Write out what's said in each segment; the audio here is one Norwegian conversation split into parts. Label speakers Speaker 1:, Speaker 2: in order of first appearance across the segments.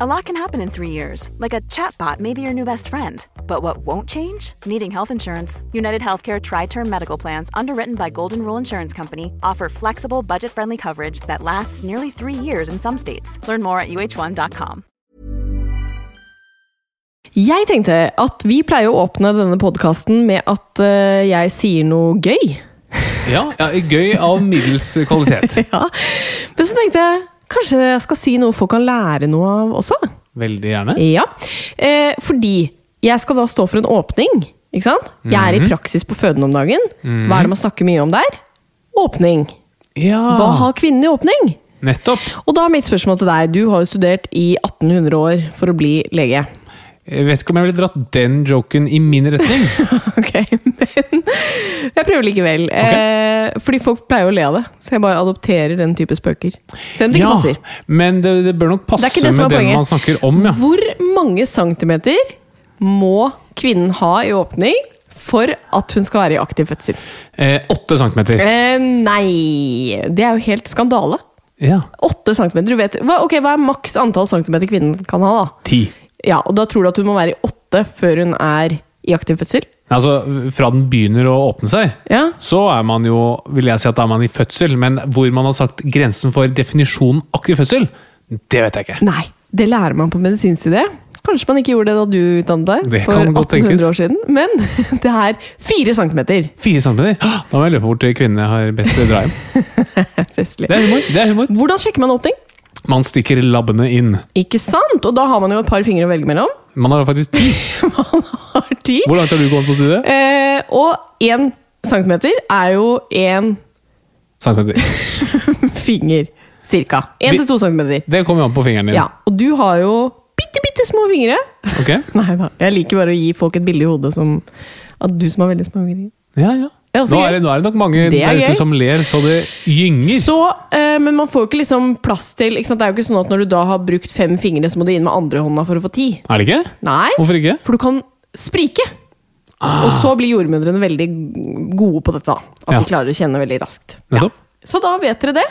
Speaker 1: A lot can happen in three years, like a chatbot may be your new best friend. But what won't change? Needing health insurance. United Healthcare Tri Term Medical Plans, underwritten by Golden Rule Insurance Company, offer flexible, budget friendly coverage that lasts nearly three years in some states. Learn more at uh1.com.
Speaker 2: Jeg tenkte at vi pleier å åpne denne podkasten med at eh, jeg sier noe gøy.
Speaker 3: Ja, ja, gøy av middels kvalitet.
Speaker 2: Ja. Men så tenkte jeg kanskje jeg skal si noe folk kan lære noe av også.
Speaker 3: Veldig gjerne.
Speaker 2: Ja, eh, Fordi jeg skal da stå for en åpning. Ikke sant? Jeg er i praksis på føden om dagen. Hva er det man snakker mye om der? Åpning.
Speaker 3: Ja,
Speaker 2: Hva har kvinnen i åpning?
Speaker 3: nettopp.
Speaker 2: Og da er mitt spørsmål til deg. Du har jo studert i 1800 år for å bli lege.
Speaker 3: Jeg vet ikke om jeg ville dratt den joken i min retning.
Speaker 2: Ok, men jeg prøver likevel. Eh, fordi folk pleier å le av det, så jeg bare adopterer den type spøker. Selv om det ikke
Speaker 3: ja,
Speaker 2: passer.
Speaker 3: men det, det bør nok passe
Speaker 2: Det er ikke det som
Speaker 3: med
Speaker 2: er
Speaker 3: den
Speaker 2: poenget.
Speaker 3: man snakker om, ja.
Speaker 2: Hvor mange centimeter må kvinnen ha i åpning for at hun skal være i aktiv fødsel?
Speaker 3: Eh, åtte centimeter.
Speaker 2: Eh, nei Det er jo helt skandale.
Speaker 3: Ja.
Speaker 2: Åtte centimeter. Du vet, hva, ok, hva er maks antall centimeter kvinnen kan ha? da?
Speaker 3: Ti.
Speaker 2: Ja, og Da tror du at hun må være i åtte før hun er i aktiv fødsel?
Speaker 3: Altså, fra den begynner å åpne seg,
Speaker 2: Ja.
Speaker 3: så er man jo, vil jeg si at da er man i fødsel, men hvor man har sagt grensen for definisjonen aktiv fødsel, det vet jeg ikke.
Speaker 2: Nei, det lærer man på medisinstudiet. Kanskje man ikke gjorde det da du utdannet deg
Speaker 3: Det
Speaker 2: for
Speaker 3: kan godt
Speaker 2: 1800
Speaker 3: tenkes.
Speaker 2: år siden. Men det er fire centimeter.
Speaker 3: Fire centimeter! Hå! Da må jeg løpe bort til kvinnene jeg har bedt dra hjem.
Speaker 2: Festlig.
Speaker 3: Det er humor. det er humor.
Speaker 2: Hvordan sjekker man åpning?
Speaker 3: Man stikker labbene inn.
Speaker 2: Ikke sant? Og da har man jo et par fingre å velge mellom.
Speaker 3: Man har faktisk ti.
Speaker 2: Man har ti.
Speaker 3: Hvor langt har du gått på studiet?
Speaker 2: Eh, og én centimeter er jo én
Speaker 3: Centimeter.
Speaker 2: finger. Cirka.
Speaker 3: Vi-
Speaker 2: Én til to centimeter.
Speaker 3: Det kommer jo an på fingeren din.
Speaker 2: Ja, og du har jo bitte, bitte små fingre.
Speaker 3: Ok?
Speaker 2: Nei da, jeg liker bare å gi folk et bilde i hodet som at du som har veldig små fingre.
Speaker 3: Ja, ja.
Speaker 2: Det er også
Speaker 3: Nå er, det, nå er det nok mange
Speaker 2: altså, Det er
Speaker 3: der ute
Speaker 2: gøy.
Speaker 3: som ler så det gynger.
Speaker 2: Så, eh, men man får jo ikke liksom plass til ikke sant? Det er jo ikke sånn at når du da har brukt fem fingre, så må du inn med andre hånda for å få ti.
Speaker 3: Er det ikke?
Speaker 2: Nei,
Speaker 3: Hvorfor ikke? Ah.
Speaker 2: for du kan sprike. Og så blir jordmødrene veldig gode på dette. da. At
Speaker 3: Ja.
Speaker 2: de klarer å kjenne veldig raskt.
Speaker 3: Nettopp.
Speaker 2: Så da vet dere det.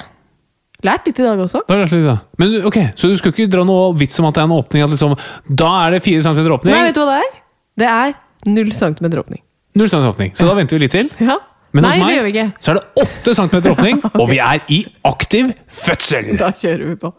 Speaker 2: Lært litt i dag også.
Speaker 3: Da er det slik, da. Men du- ok, Så du skal ikke dra noe vits om at det er en åpning? At liksom, da er det fire centimeter åpning?
Speaker 2: Nei, vet du hva det er? Det er null centimeter åpning.
Speaker 3: Null centimeter åpning. Så da venter vi litt til.
Speaker 2: Ja.
Speaker 3: Men
Speaker 2: Nei,
Speaker 3: hos meg
Speaker 2: det gjør vi ikke.
Speaker 3: så er det åtte centimeter åpning, og vi er i aktiv fødsel!
Speaker 2: Da kjører vi på.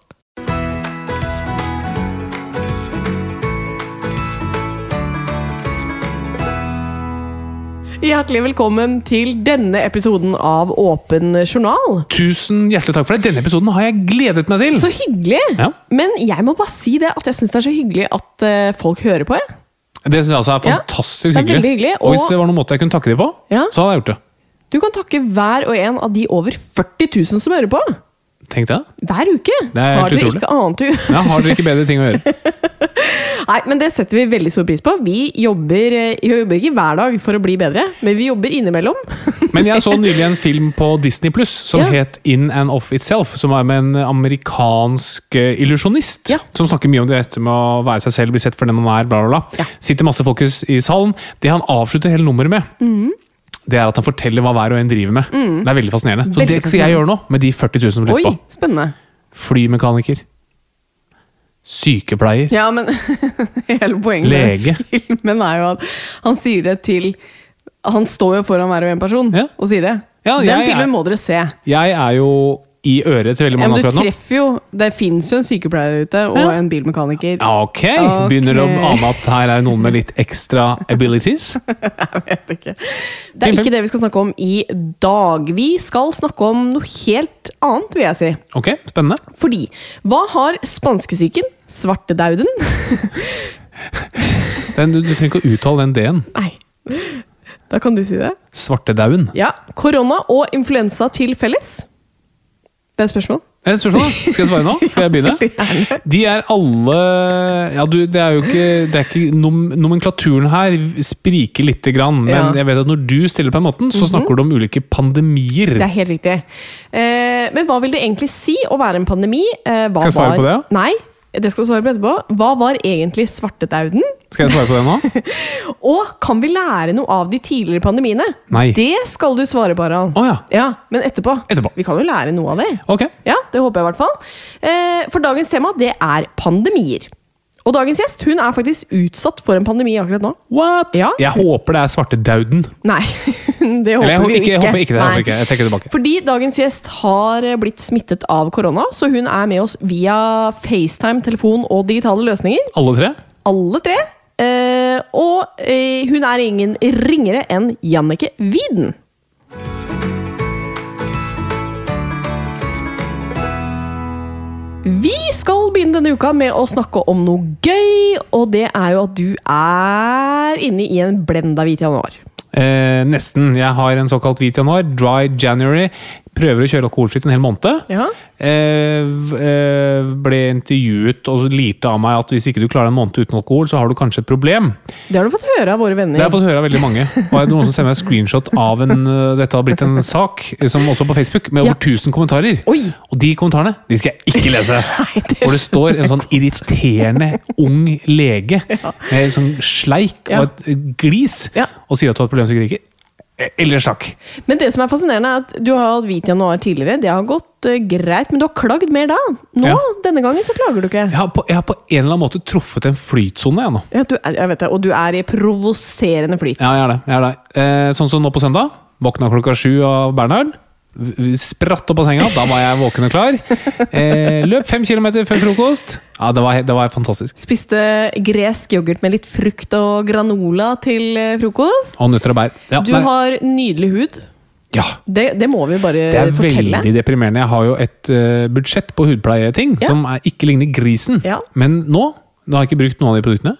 Speaker 2: Hjertelig velkommen til denne episoden av Åpen journal.
Speaker 3: Tusen hjertelig takk for det. Denne episoden har jeg gledet meg til!
Speaker 2: Så hyggelig!
Speaker 3: Mm. Ja.
Speaker 2: Men jeg må bare si det at jeg syns det er så hyggelig at eh, folk hører på. Jeg.
Speaker 3: Det syns jeg altså er
Speaker 2: Ja,
Speaker 3: fantastisk
Speaker 2: det er
Speaker 3: hyggelig.
Speaker 2: veldig hyggelig,
Speaker 3: Og hvis
Speaker 2: og-
Speaker 3: det var noen måte jeg kunne takke dem på,
Speaker 2: Ja.
Speaker 3: så hadde jeg gjort det.
Speaker 2: Du kan takke hver og en av de over 40 000 som hører på.
Speaker 3: Tenk det.
Speaker 2: Hver uke!
Speaker 3: Det er helt
Speaker 2: Har dere
Speaker 3: utrolig.
Speaker 2: ikke annet å gjøre?
Speaker 3: Ja, har dere ikke bedre ting å gjøre?
Speaker 2: Nei, men det setter vi veldig stor pris på. Vi jobber, eh, vi jobber ikke hver dag for å bli bedre, men vi jobber innimellom.
Speaker 3: Men jeg så nylig en film på Disney Pluss som
Speaker 2: Ja.
Speaker 3: het In and Of Itself. Som er med en amerikansk eh, illusjonist.
Speaker 2: Ja.
Speaker 3: Som snakker mye om det etter med å være seg selv, bli sett for den man er, bla, bla, bla.
Speaker 2: Ja.
Speaker 3: Sitter masse folk i s- i salen. Det han avslutter hele nummeret med,
Speaker 2: Mhm.
Speaker 3: det er at han forteller hva hver og en driver med. Det er veldig fascinerende. Så
Speaker 2: Veldig
Speaker 3: det skal jeg gjøre nå, med de 40 000 som
Speaker 2: Oi,
Speaker 3: lytter på.
Speaker 2: spennende.
Speaker 3: Flymekaniker. Sykepleier.
Speaker 2: Ja, men hele poenget
Speaker 3: Lege.
Speaker 2: med den filmen er jo at han sier det til Han står jo foran hver og en person
Speaker 3: Ja.
Speaker 2: og sier det.
Speaker 3: Ja,
Speaker 2: Den
Speaker 3: jeg er-
Speaker 2: filmen må dere se.
Speaker 3: Jeg er jo i øret til
Speaker 2: Ja,
Speaker 3: veldig mange
Speaker 2: men du
Speaker 3: akkurat nå.
Speaker 2: treffer jo Det fins jo en sykepleier ute, og en bilmekaniker.
Speaker 3: Ja, Ok, begynner å
Speaker 2: Ok.
Speaker 3: ane at her er noen med litt ekstra abilities.
Speaker 2: Vet ikke. Det er
Speaker 3: Film,
Speaker 2: ikke
Speaker 3: film.
Speaker 2: det vi skal snakke om i dag. Vi skal snakke om noe helt annet, vil jeg si.
Speaker 3: Ok, spennende.
Speaker 2: Fordi hva har spanskesyken, svartedauden
Speaker 3: Den, du, du trenger ikke å uttale den D-en.
Speaker 2: Nei. Da kan du si det.
Speaker 3: Svartedauden.
Speaker 2: Ja. Korona og influensa til felles? Det er et spørsmål.
Speaker 3: Eh, Spørsmål? Skal jeg svare nå? Skal jeg begynne? De er alle Ja, du, det er jo ikke, det er ikke nom, Nomenklaturen her spriker lite grann, men
Speaker 2: Ja. Mhm.
Speaker 3: jeg vet at når du stiller på den måten, så snakker du om ulike pandemier.
Speaker 2: Det er helt riktig. Eh, men hva vil det egentlig si å være en pandemi? Eh, hva
Speaker 3: Skal jeg svare
Speaker 2: var...
Speaker 3: på det,
Speaker 2: Nei, det skal du svare på etterpå. Hva var egentlig svartedauden?
Speaker 3: Skal jeg svare på det nå?
Speaker 2: Og kan vi lære noe av de tidligere pandemiene?
Speaker 3: Nei.
Speaker 2: Det skal du svare på, Harald.
Speaker 3: Å ja.
Speaker 2: men etterpå.
Speaker 3: Etterpå.
Speaker 2: Vi kan jo lære noe av det.
Speaker 3: Ok.
Speaker 2: Ja, det håper jeg i hvert fall. Eh, for dagens tema, det er pandemier. Og dagens gjest hun er faktisk utsatt for en pandemi akkurat nå.
Speaker 3: What?
Speaker 2: Ja.
Speaker 3: Jeg håper det er svartedauden.
Speaker 2: Nei, det håper
Speaker 3: Eller jeg,
Speaker 2: vi
Speaker 3: håper
Speaker 2: jo
Speaker 3: ikke,
Speaker 2: ikke.
Speaker 3: jeg håper ikke det. Jeg,
Speaker 2: Nei.
Speaker 3: håper ikke. jeg trekker det tilbake.
Speaker 2: Fordi dagens gjest har blitt smittet av korona, så hun er med oss via FaceTime, telefon og digitale løsninger.
Speaker 3: Alle tre?
Speaker 2: Alle tre. Eh, og eh, hun er ingen ringere enn Jannicke Wieden. Vi skal begynne denne uka med å snakke om noe gøy, og det er jo at du er inne i en blenda hvit januar.
Speaker 3: Eh, nesten. Jeg har en såkalt hvit januar, dry january. Prøver å kjøre alkoholfritt en hel måned.
Speaker 2: Ja.
Speaker 3: Eh, v- eh, ble intervjuet og lirte av meg at hvis ikke du klarer en måned uten alkohol, så har du kanskje et problem.
Speaker 2: Det har du fått høre av våre venner.
Speaker 3: Det har jeg fått høre av veldig mange. Og det er noen som sender meg screenshot av en eh, Dette har blitt en sak, eh, som også på Facebook, med over
Speaker 2: Ja.
Speaker 3: 1000 kommentarer.
Speaker 2: Oi.
Speaker 3: Og de kommentarene de skal jeg ikke lese!
Speaker 2: det
Speaker 3: Hvor det står en sånn irriterende ung lege med sånn sleik
Speaker 2: Ja.
Speaker 3: og et glis
Speaker 2: Ja.
Speaker 3: og sier at du har et problem som ikke drikker. Eh, Eller stakk.
Speaker 2: Men det som er fascinerende er at du har hatt hvit januar tidligere. Det har gått eh, greit, men du har klagd mer da. Nå,
Speaker 3: Ja.
Speaker 2: denne gangen, så klager du ikke.
Speaker 3: Jeg har, på, jeg har på en eller annen måte truffet en flytsone, jeg nå.
Speaker 2: Ja, du, er- jeg vet det, og du er i provoserende flyt.
Speaker 3: Ja, jeg er det. Jeg er det. Eh, sånn som nå på søndag. Våkna klokka sju av Bernhard. V- v- Spratt opp av senga, da var jeg våken og klar. Eh, løp fem kilometer før frokost. Ja, det var, he- det var fantastisk.
Speaker 2: Spiste gresk yoghurt med litt frukt og granola til eh, frokost.
Speaker 3: Og nøtter og bær. Ja,
Speaker 2: Du
Speaker 3: nei,
Speaker 2: har nydelig hud.
Speaker 3: ja,
Speaker 2: Det, det må vi bare
Speaker 3: det er
Speaker 2: Eh, fortelle.
Speaker 3: veldig deprimerende. Jeg har jo et eh, budsjett på hudpleieting
Speaker 2: Ja.
Speaker 3: som er, ikke ligner grisen.
Speaker 2: Ja.
Speaker 3: Men nå, nå har jeg ikke brukt noen av de produktene.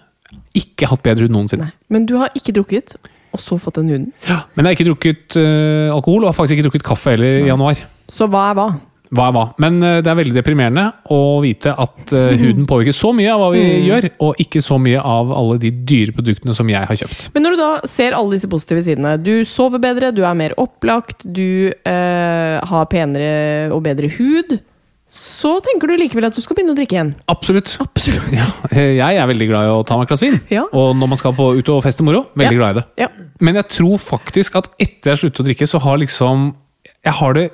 Speaker 3: Ikke hatt bedre hud noensinne.
Speaker 2: Nei, men du har ikke drukket, og så fått den huden.
Speaker 3: Ja, Men jeg har ikke drukket eh, alkohol, og har faktisk ikke drukket kaffe heller i januar.
Speaker 2: Så hva er hva?
Speaker 3: hva er hva. Men eh, det er veldig deprimerende å vite at
Speaker 2: Mhm.
Speaker 3: eh, huden påvirker så mye av hva vi gjør, og ikke så mye av alle de dyre produktene som jeg har kjøpt.
Speaker 2: Men når du da ser alle disse positive sidene Du sover bedre, du er mer opplagt, du eh, har penere og bedre hud. Så tenker du likevel at du skal begynne å drikke igjen.
Speaker 3: Absolutt. Ja, eh, jeg er veldig glad i å ta meg et glass vin,
Speaker 2: Ja.
Speaker 3: og når man skal på, ut og feste moro, veldig
Speaker 2: Ja.
Speaker 3: glad i det.
Speaker 2: Ja.
Speaker 3: Men jeg tror faktisk at etter jeg sluttet å drikke, så har liksom jeg har det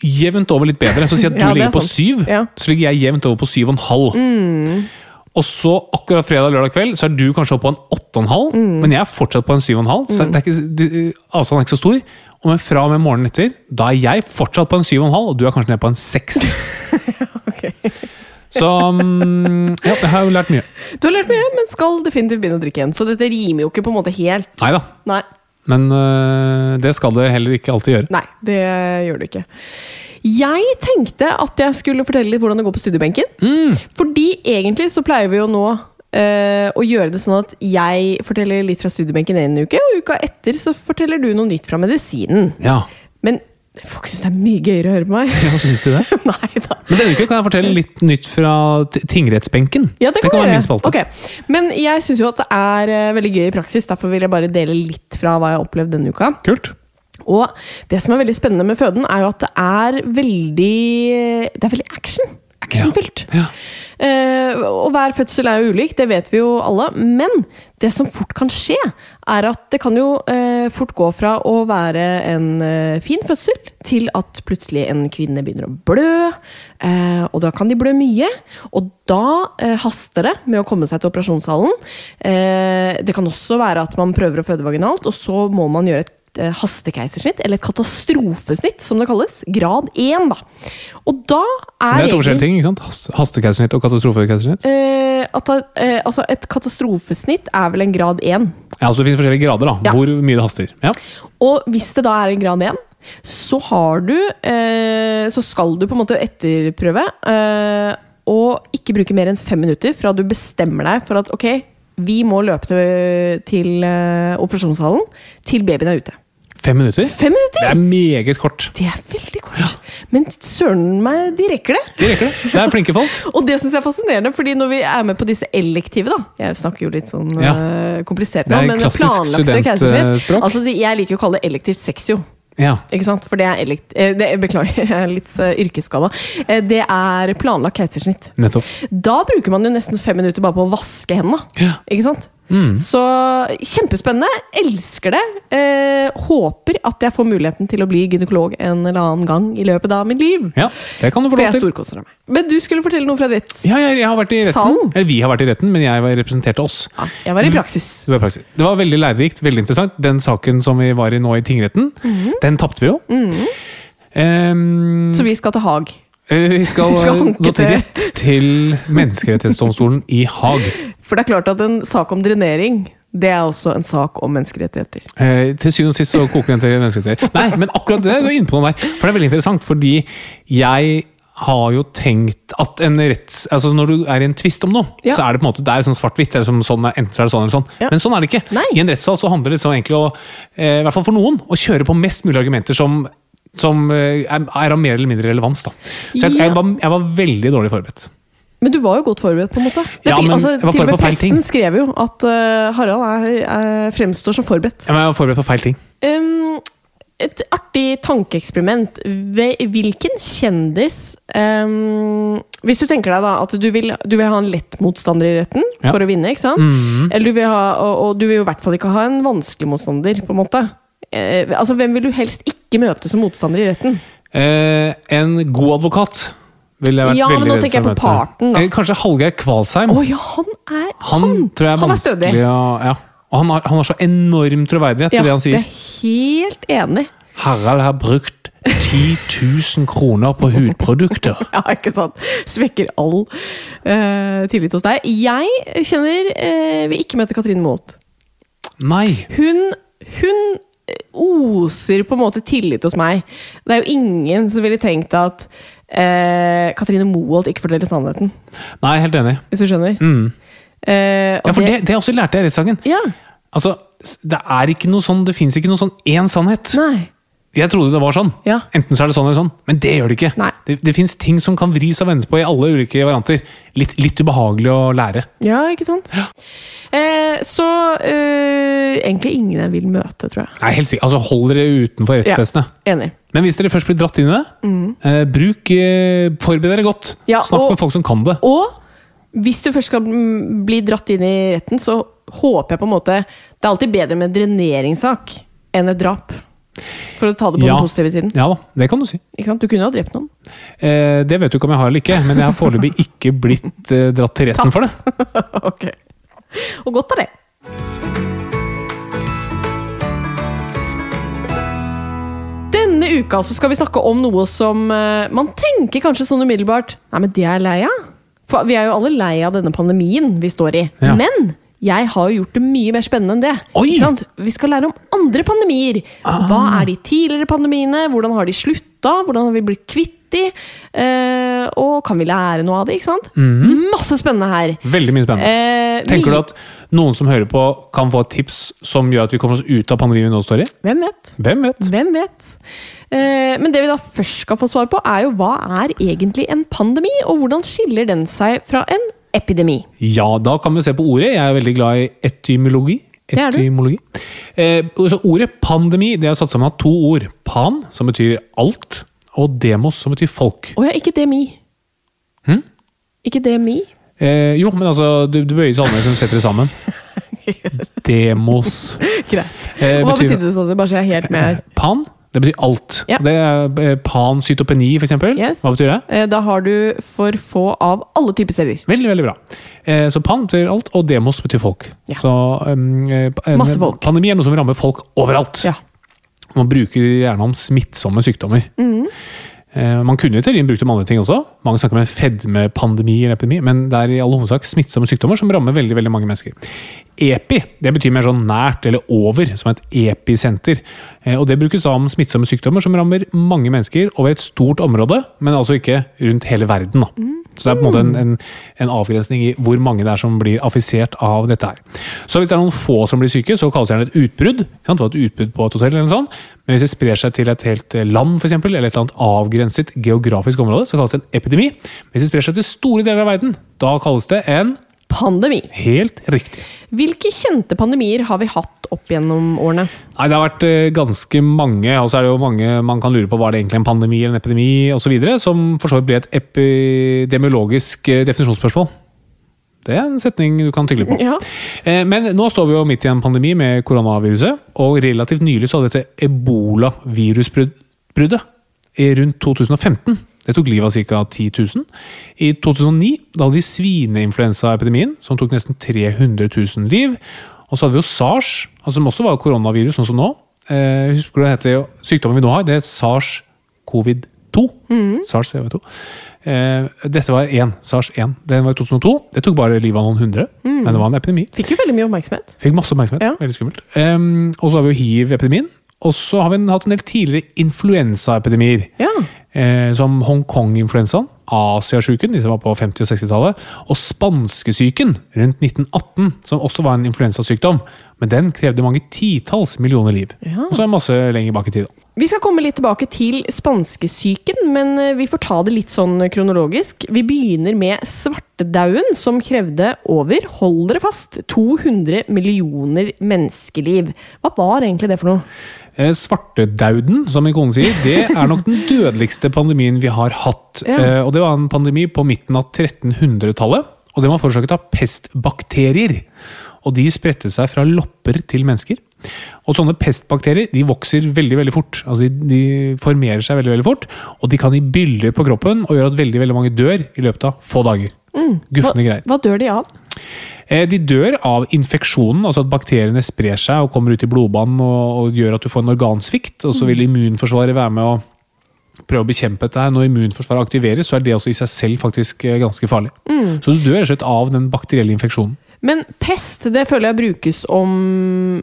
Speaker 3: jevnt over litt bedre. Så si at du
Speaker 2: Ja, det er
Speaker 3: ligger på
Speaker 2: sant.
Speaker 3: syv,
Speaker 2: Ja. Mm.
Speaker 3: så ligger jeg jevnt over på syv og en halv. Og så akkurat fredag lørdag kveld, så er du kanskje oppe på en åtte og en halv,
Speaker 2: Mm.
Speaker 3: men jeg er fortsatt på en syv og en halv. Så det er ikke, det- avstanden er ikke så stor. Og men fra og med morgenen etter, da er jeg fortsatt på en syv og en halv, og du er kanskje nede på en seks. Så mm, ja, jeg har jo lært mye.
Speaker 2: Du har lært mye, men skal definitivt begynne å drikke igjen. Så dette rimer jo ikke på en måte helt.
Speaker 3: Nei da.
Speaker 2: Nei,
Speaker 3: Men øh, det skal det heller ikke alltid gjøre.
Speaker 2: nei det gjør du ikke. Jeg tenkte at jeg skulle fortelle litt hvordan det går på studiebenken.
Speaker 3: Mm.
Speaker 2: Fordi egentlig så pleier vi jo nå eh, å gjøre det sånn at jeg forteller litt fra studiebenken en uke, og uka etter så forteller du noe nytt fra medisinen.
Speaker 3: Ja,
Speaker 2: Men folk syns det er mye gøyere å høre på meg.
Speaker 3: Hva syns du det?
Speaker 2: Nei da.
Speaker 3: Men denne uka kan jeg fortelle litt nytt fra t- tingrettsbenken.
Speaker 2: Ja, det kan,
Speaker 3: være
Speaker 2: være.
Speaker 3: min spalte.
Speaker 2: Ok. Men jeg syns jo at det er eh, veldig gøy i praksis. Derfor vil jeg bare dele litt fra hva jeg har opplevd denne uka.
Speaker 3: Kult.
Speaker 2: Og det som er veldig spennende med føden, er jo at det er veldig Det er veldig action. Actionfylt.
Speaker 3: Ja.
Speaker 2: Eh, og hver fødsel er jo ulik, det vet vi jo alle. Men det som fort kan skje, er at det kan jo eh, fort gå fra å være en eh, fin fødsel til at plutselig en kvinne begynner å blø. eh, og da kan de blø mye. Og da eh, haster det med å komme seg til operasjonssalen. Eh, det kan også være at man prøver å føde vaginalt, og så må man gjøre et eh, hastekeisersnitt, eller et katastrofesnitt, som det kalles. Grad 1, da. Og da er
Speaker 3: Det er to
Speaker 2: regelen-
Speaker 3: forskjellige ting. ikke sant? Hast- Hastekeisersnitt og katastrofekeisersnitt.
Speaker 2: Eh, at, da- eh, altså et katastrofesnitt er vel en grad 1.
Speaker 3: Ja, altså Det finnes forskjellige grader. da.
Speaker 2: Ja.
Speaker 3: Hvor mye det haster. Ja.
Speaker 2: Og hvis det da er en grad 1, så har du eh, Så skal du på en måte etterprøve eh, og ikke bruke mer enn fem minutter fra du bestemmer deg for at ok, vi må løpe til, til eh, operasjonshallen til babyen er ute.
Speaker 3: Fem minutter?
Speaker 2: Fem
Speaker 3: Det
Speaker 2: minutter!
Speaker 3: er meget kort.
Speaker 2: Det er veldig kort. Men søren meg, de rekker det.
Speaker 3: De rekker det. Det er flinke folk.
Speaker 2: Og det syns jeg er fascinerende, fordi når vi er med på disse elektive, da Jeg snakker jo litt sånn
Speaker 3: Ja.
Speaker 2: eh, komplisert
Speaker 3: Det
Speaker 2: nå,
Speaker 3: er
Speaker 2: men
Speaker 3: klassisk
Speaker 2: planlagte keisersnitt.
Speaker 3: studentspråk.
Speaker 2: Altså, de- jeg liker jo å kalle det elektivt sex, jo.
Speaker 3: Ja.
Speaker 2: Ikke sant? For det er elekt... eh, Det, beklager, jeg er litt uh, yrkesskada. Eh, det er planlagt keisersnitt.
Speaker 3: Nettopp.
Speaker 2: Da bruker man jo nesten fem minutter bare på å vaske hendene.
Speaker 3: Ja.
Speaker 2: Ikke sant?
Speaker 3: Mm.
Speaker 2: Så kjempespennende. Elsker det. Eh, håper at jeg får muligheten til å bli gynekolog en eller annen gang i løpet av mitt liv.
Speaker 3: Ja, det kan du få
Speaker 2: For
Speaker 3: lov
Speaker 2: jeg
Speaker 3: til.
Speaker 2: storkoser meg. Men du skulle fortelle noe fra retts...
Speaker 3: Ja, jeg, jeg har vært i retten.
Speaker 2: Salen?
Speaker 3: Eller vi har vært i retten, men jeg var- representerte oss.
Speaker 2: Ja, jeg var i praksis.
Speaker 3: Det var, praksis. det var veldig lærerikt, veldig interessant. Den saken som vi var i nå i tingretten,
Speaker 2: Mhm.
Speaker 3: den tapte vi jo. Ehm,
Speaker 2: Så vi skal til Haag.
Speaker 3: eh, vi skal,
Speaker 2: vi skal hanke
Speaker 3: gå til
Speaker 2: til-
Speaker 3: rett til Menneskerettighetsdomstolen i Haag.
Speaker 2: For det er klart at en sak om drenering, det er også en sak om menneskerettigheter.
Speaker 3: Eh, til syvende og sist så koker den til menneskerettigheter. Nei, men akkurat det, du er inne på noe der. For det er veldig interessant, fordi jeg har jo tenkt at en retts... Altså når du er i en tvist om noe,
Speaker 2: Ja.
Speaker 3: så er det på en måte det er sånn svart-hvitt. eller Sånn, sånn, enten så er det sånn eller sånn.
Speaker 2: Ja.
Speaker 3: Men sånn er det ikke.
Speaker 2: Nei.
Speaker 3: I en rettssal så handler det liksom egentlig å, eh, i hvert fall for noen, å kjøre på mest mulig argumenter som som eh, er er av mer eller mindre relevans. da. Så jeg,
Speaker 2: Ja.
Speaker 3: jeg, var, jeg var veldig dårlig forberedt.
Speaker 2: Men du var jo godt forberedt, på en måte. Det
Speaker 3: Ja,
Speaker 2: fikk-
Speaker 3: men
Speaker 2: altså,
Speaker 3: jeg var
Speaker 2: til og med
Speaker 3: forberedt på feil ting.
Speaker 2: pressen skrev jo at eh, Harald er, er, fremstår som forberedt.
Speaker 3: Ja, men Jeg var forberedt på feil ting.
Speaker 2: Um, et artig tankeeksperiment. Ve- Hvilken kjendis um, Hvis du tenker deg da at du vil, du vil ha en lett motstander i retten
Speaker 3: Ja. Mhm.
Speaker 2: for å vinne, ikke sant? Eller du vil ha, og, og du vil jo i hvert fall ikke ha en vanskelig motstander, på en måte. Eh, altså, Hvem vil du helst ikke møte som motstander i retten?
Speaker 3: Eh, en god advokat ville jeg vært
Speaker 2: Ja, men
Speaker 3: veldig
Speaker 2: nå
Speaker 3: redd
Speaker 2: tenker
Speaker 3: for
Speaker 2: jeg
Speaker 3: å
Speaker 2: på
Speaker 3: møte.
Speaker 2: parten, da.
Speaker 3: Eh, Kanskje Hallgeir Kvalsheim.
Speaker 2: Å ja, han er
Speaker 3: Mm. han, tror jeg er
Speaker 2: han er stødig.
Speaker 3: vanskelig å ja. Og han har, han har så enorm troverdighet til det
Speaker 2: det
Speaker 3: han sier.
Speaker 2: er helt enig.
Speaker 3: Harald har brukt 10 000 kroner på hudprodukter.
Speaker 2: Ja, ikke sant? Svekker all eh, tillit hos deg. Jeg kjenner eh, vil ikke møte Katrine Moholt.
Speaker 3: Nei.
Speaker 2: Hun, hun eh, oser på en måte tillit hos meg. Det er jo ingen som ville tenkt at eh, Katrine Moholt ikke forteller sannheten,
Speaker 3: Nei, helt enig.
Speaker 2: hvis du skjønner. Eh, og
Speaker 3: Mm. Ja, for det, det også lærte jeg i rettssaken.
Speaker 2: Ja,
Speaker 3: Altså, s- det er ikke noe sånn, det fins ikke noe sånn én sannhet.
Speaker 2: nei.
Speaker 3: Jeg trodde det var sånn.
Speaker 2: Ja.
Speaker 3: Enten så er det sånn eller sånn. Men det gjør det ikke.
Speaker 2: Nei.
Speaker 3: Det, det fins ting som kan vris og vendes på i alle ulike varianter. Litt, litt ubehagelig å lære.
Speaker 2: Ja, ikke sant? Eh, så eh, egentlig ingen jeg vil møte, tror jeg.
Speaker 3: Nei, helt sikkert. Altså, Hold dere utenfor rettsvesenet.
Speaker 2: Enig.
Speaker 3: Men hvis dere først blir dratt inn i det, eh, bruk, eh, forbered dere
Speaker 2: Mm.
Speaker 3: godt.
Speaker 2: Ja,
Speaker 3: Snakk
Speaker 2: og-
Speaker 3: med folk som kan det.
Speaker 2: Og hvis du først skal mm, bli dratt inn i retten, så håper jeg på en måte Det er alltid bedre med en dreneringssak enn et drap. For å ta det på
Speaker 3: Ja.
Speaker 2: den positive siden.
Speaker 3: Ja da, det kan du si.
Speaker 2: Ikke sant? Du kunne ha drept noen.
Speaker 3: Eh, det vet du ikke om jeg har eller ikke, men jeg har foreløpig ikke blitt eh, dratt til retten for det.
Speaker 2: ok. Og godt er det. Denne uka så skal vi snakke om noe som eh, man tenker kanskje sånn umiddelbart Nei, men det er jeg lei av. For vi er jo alle lei av denne pandemien vi står i.
Speaker 3: Ja.
Speaker 2: Men jeg har jo gjort det mye mer spennende enn det.
Speaker 3: Oi! Ah.
Speaker 2: Ikke sant? Vi skal lære om andre pandemier. Hva er de tidligere pandemiene? Hvordan har de slutta? Hvordan har vi blitt kvitt de? Eh, og kan vi lære noe av det? Ikke sant?
Speaker 3: Mhm.
Speaker 2: Masse spennende her.
Speaker 3: Veldig mye spennende.
Speaker 2: Eh,
Speaker 3: Tenker du
Speaker 2: mye-
Speaker 3: at noen som hører på, kan få et tips som gjør at vi kommer oss ut av pandemien vi nå står i?
Speaker 2: Hvem vet?
Speaker 3: Hvem vet?
Speaker 2: Hvem vet? Eh, men det vi da først skal få svar på, er jo hva er egentlig en pandemi, og hvordan skiller den seg fra en epidemi?
Speaker 3: Ja, da kan vi se på ordet. Jeg er veldig glad i etymologi.
Speaker 2: Det er du.
Speaker 3: Etymologi. Eh, så ordet pandemi det er satt sammen av to ord. Pan, som betyr alt, og demos, som betyr folk.
Speaker 2: Å ja, ikke demi.
Speaker 3: Hm?
Speaker 2: Ikke demi?
Speaker 3: Eh, jo, men altså, du, du bøyer salmer som setter det sammen. Demos.
Speaker 2: Greit.
Speaker 3: Eh,
Speaker 2: Og Hva
Speaker 3: betyr-
Speaker 2: betydde det sånn? Bare så jeg er helt med her.
Speaker 3: Pan, det betyr alt.
Speaker 2: Ja.
Speaker 3: Det er eh, pancytopeni, for eksempel.
Speaker 2: Yes.
Speaker 3: Hva betyr det?
Speaker 2: Eh, Da har du for få av alle typer celler.
Speaker 3: Veldig, veldig bra. Eh, Så pan betyr alt, og demos betyr folk.
Speaker 2: Ja.
Speaker 3: Så um, eh, pa- en
Speaker 2: Masse folk.
Speaker 3: pandemi er noe som rammer folk overalt.
Speaker 2: Ja.
Speaker 3: Man bruker gjerne om smittsomme sykdommer. Eh, Man kunne jo i teorien brukt om andre ting også. Mange snakker om en fedmepandemi, eller epidemi, men det er i all hovedsak smittsomme sykdommer som rammer veldig veldig mange mennesker. Epi det betyr mer sånn nært eller over, som et episenter. Eh, Og Det brukes da om smittsomme sykdommer som rammer mange mennesker over et stort område, men altså ikke rundt hele verden. da. Så det er på en måte en, en, en avgrensning i hvor mange det er som blir affisert av dette her. Så hvis det er noen få som blir syke, så kalles det gjerne et utbrudd. ikke Sant? Det var et utbrudd på et hotell eller noe sånt. Men hvis det sprer seg til et helt eh, land, for eksempel, eller et eller annet avgrenset geografisk område, så kalles det en epidemi. Hvis det sprer seg til store deler av verden, da kalles det en
Speaker 2: Pandemi.
Speaker 3: Helt riktig.
Speaker 2: Hvilke kjente pandemier har vi hatt opp gjennom årene?
Speaker 3: Nei, Det har vært eh, ganske mange, og så er det jo mange man kan lure på var det egentlig en pandemi eller en epidemi osv., som for så vidt ble et epidemiologisk eh, definisjonsspørsmål. Det er en setning du kan tygle på.
Speaker 2: Ja.
Speaker 3: Eh, Men nå står vi jo midt i en pandemi med koronaviruset, og relativt nylig så hadde dette ebolavirusbruddet i rundt 2015. Det tok livet av ca. 10 000. I 2009 da hadde vi svineinfluensaepidemien, som tok nesten 300 000 liv. Og så hadde vi jo sars, altså som også var koronavirus, sånn som nå. Eh, husker du det heter jo, Sykdommen vi nå har, det er sars-covid-2.
Speaker 2: Mm.
Speaker 3: SARS-CoV-2. Eh, dette var én, SARS-1. Den var i 2002. Det tok bare livet av noen hundre, men det var en epidemi.
Speaker 2: Fikk jo veldig mye oppmerksomhet.
Speaker 3: Fikk masse oppmerksomhet.
Speaker 2: Mm. Ja.
Speaker 3: Veldig skummelt. Ehm, og så har vi jo hiv-epidemien. Og så har vi en- hatt en del tidligere influensaepidemier.
Speaker 2: Ja.
Speaker 3: Eh, som Hongkong-influensaen, Asiasjuken, de som var på 50- og 60-tallet, og spanskesyken rundt 1918, som også var en influensasykdom. Men den krevde mange titalls millioner liv.
Speaker 2: Ja.
Speaker 3: Og så er det masse lenger bak i tid. da.
Speaker 2: Vi skal komme litt tilbake til spanskesyken, men eh, vi får ta det litt sånn kronologisk. Vi begynner med svartedauden, som krevde over, hold dere fast, 200 millioner menneskeliv. Hva var egentlig det for noe?
Speaker 3: Eh, Svartedauden, som min kone sier, det er nok den dødeligste pandemien vi har hatt.
Speaker 2: Ja.
Speaker 3: Eh, Og det var en pandemi på midten av 1300-tallet, og den var forårsaket av pestbakterier. Og de spredte seg fra lopper til mennesker. Og sånne pestbakterier de vokser veldig veldig fort. Altså de, de formerer seg veldig veldig fort, og de kan gi byller på kroppen og gjøre at veldig veldig mange dør i løpet av få dager. Gufne greier.
Speaker 2: Mm. Hva dør de av?
Speaker 3: Eh, De dør av infeksjonen, altså at bakteriene sprer seg og kommer ut i blodbanen og, og gjør at du får en organsvikt, og så vil immunforsvaret være med å prøve å bekjempe dette. her. Når immunforsvaret aktiveres, så er det også i seg selv faktisk eh, ganske farlig. Så du dør rett og slett av den bakterielle infeksjonen.
Speaker 2: Men pest, det føler jeg brukes om,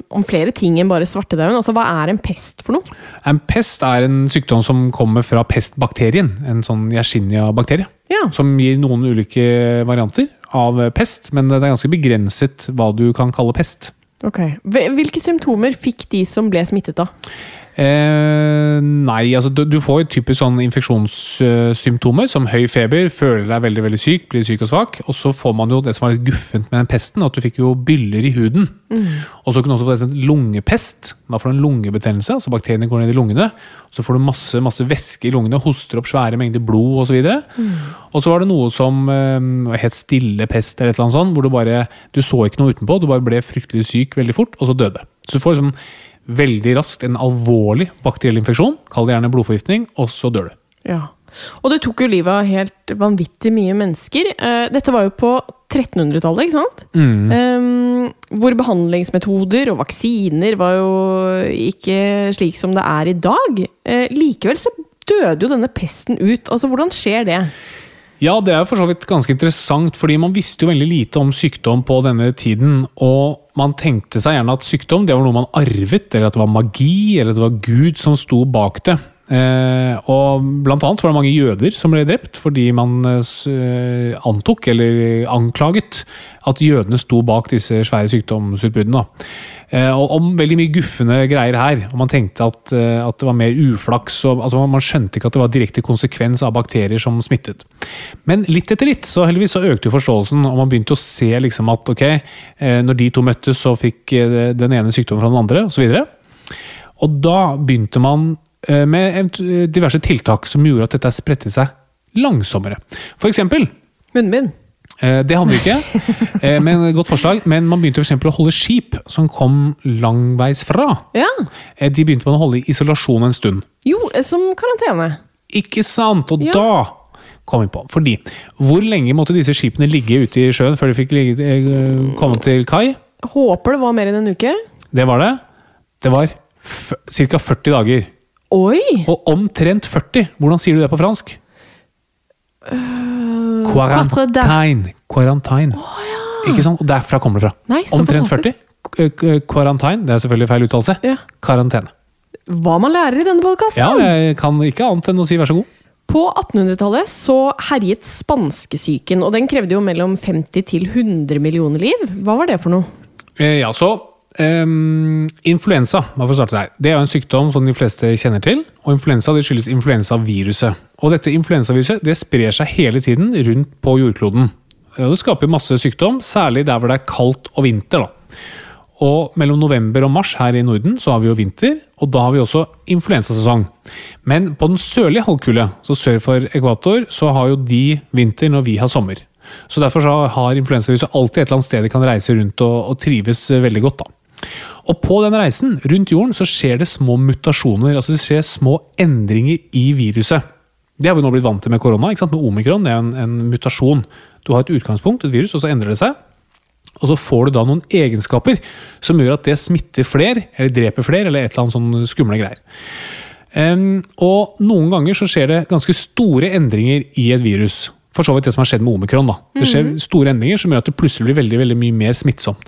Speaker 2: om flere ting enn bare svartedauden. Altså, hva er en pest for noe?
Speaker 3: En pest er en sykdom som kommer fra pestbakterien, en sånn Yersinia-bakterie.
Speaker 2: Ja.
Speaker 3: Som gir noen ulike varianter av eh, pest, men det er ganske begrenset hva du kan kalle pest.
Speaker 2: Ok. Hvil- Hvilke symptomer fikk de som ble smittet av?
Speaker 3: Eh, nei, altså du, du får jo typisk sånne infeksjonssymptomer som høy feber, føler deg veldig veldig syk, blir syk og svak. Og så får man jo det som var litt guffent med den pesten, at du fikk jo byller i huden. Og så kunne du også få det som het lungepest. Da får du en lungebetennelse, altså bakteriene går ned i lungene. Så får du masse masse væske i lungene, hoster opp svære mengder blod osv. Og så var det noe som eh, het stillepest, eller et eller annet sånt, hvor du bare du så ikke noe utenpå, du bare ble fryktelig syk veldig fort, og så døde. Så du får liksom veldig raskt en alvorlig bakteriell infeksjon, kall det gjerne blodforgiftning, og så dør du.
Speaker 2: Ja. Og det tok jo livet av helt vanvittig mye mennesker. Eh, Dette var jo på 1300-tallet, ikke sant?
Speaker 3: Mm.
Speaker 2: Eh, hvor behandlingsmetoder og vaksiner var jo ikke slik som det er i dag. Eh, likevel så døde jo denne pesten ut. Altså, hvordan skjer det?
Speaker 3: Ja, det er jo for så vidt ganske interessant, fordi man visste jo veldig lite om sykdom på denne tiden, og man tenkte seg gjerne at sykdom det var noe man arvet, eller at det var magi, eller at det var Gud som sto bak det. Eh, og blant annet var det mange jøder som ble drept fordi man eh, s- eh, antok, eller anklaget, at jødene sto bak disse svære sykdomsutbruddene. da. Eh, og om veldig mye guffende greier her. og Man tenkte at, eh, at det var mer uflaks. Og, altså man, man skjønte ikke at det var direkte konsekvens av bakterier som smittet. Men litt etter litt så heldigvis så økte jo forståelsen, og man begynte å se liksom at ok, eh, når de to møttes, så fikk eh, den ene sykdommen fra den andre, osv. Og da begynte man eh, med evt- diverse tiltak som gjorde at dette spredte seg langsommere. For eksempel
Speaker 2: Munnbind.
Speaker 3: Eh, Det hadde vi ikke, eh, men godt forslag. Men man begynte for eksempel å holde skip som kom langveis fra.
Speaker 2: Ja.
Speaker 3: Eh, De begynte man å holde i isolasjon en stund.
Speaker 2: Jo, eh, som karantene.
Speaker 3: Ikke sant? Og
Speaker 2: Ja.
Speaker 3: da kom vi på. Fordi hvor lenge måtte disse skipene ligge ute i sjøen før de fikk ligge, eh, komme til kai?
Speaker 2: Håper det var mer enn en uke.
Speaker 3: Det var det. Det var ca. 40 dager.
Speaker 2: Oi!
Speaker 3: Og omtrent 40. Hvordan sier du det på fransk? Quarantine. Quarantine. Ikke sant? Og derfra kommer det fra.
Speaker 2: Nei, så
Speaker 3: omtrent
Speaker 2: fantastisk.
Speaker 3: 40. K- k- Quarantine, det er selvfølgelig feil uttalelse.
Speaker 2: Ja.
Speaker 3: Karantene.
Speaker 2: Hva man lærer i denne podkasten!
Speaker 3: Ja, jeg kan ikke annet enn å si vær så god.
Speaker 2: På 1800-tallet så herjet spanskesyken, og den krevde jo mellom 50 til 100 millioner liv. Hva var det for noe?
Speaker 3: Eh, Ja, så ehm, Influensa, hvorfor starte der? Det er jo en sykdom som de fleste kjenner til. Og influensa det skyldes influensaviruset. Og dette influensaviruset det sprer seg hele tiden rundt på jordkloden. Eh, Og det skaper masse sykdom, særlig der hvor det er kaldt og vinter. da. Og mellom november og mars her i Norden så har vi jo vinter, og da har vi også influensasesong. Men på den sørlige halvkule, så sør for ekvator, så har jo de vinter når vi har sommer. Så derfor så har influensaviruset alltid et eller annet sted de kan reise rundt og, og trives eh, veldig godt. da. Og på den reisen rundt jorden så skjer det små mutasjoner, altså det skjer små endringer i viruset. Det har vi nå blitt vant til med korona, ikke sant? med omikron. Det er jo en, en mutasjon. Du har et utgangspunkt, et virus, og så endrer det seg. Og så får du da noen egenskaper som gjør at det smitter fler, eller dreper fler, eller et eller annet sånn skumle greier. Ehm, og noen ganger så skjer det ganske store endringer i et virus. For så vidt det som har skjedd med omikron. da. Det skjer store endringer som gjør at det plutselig blir veldig, veldig mye mer smittsomt.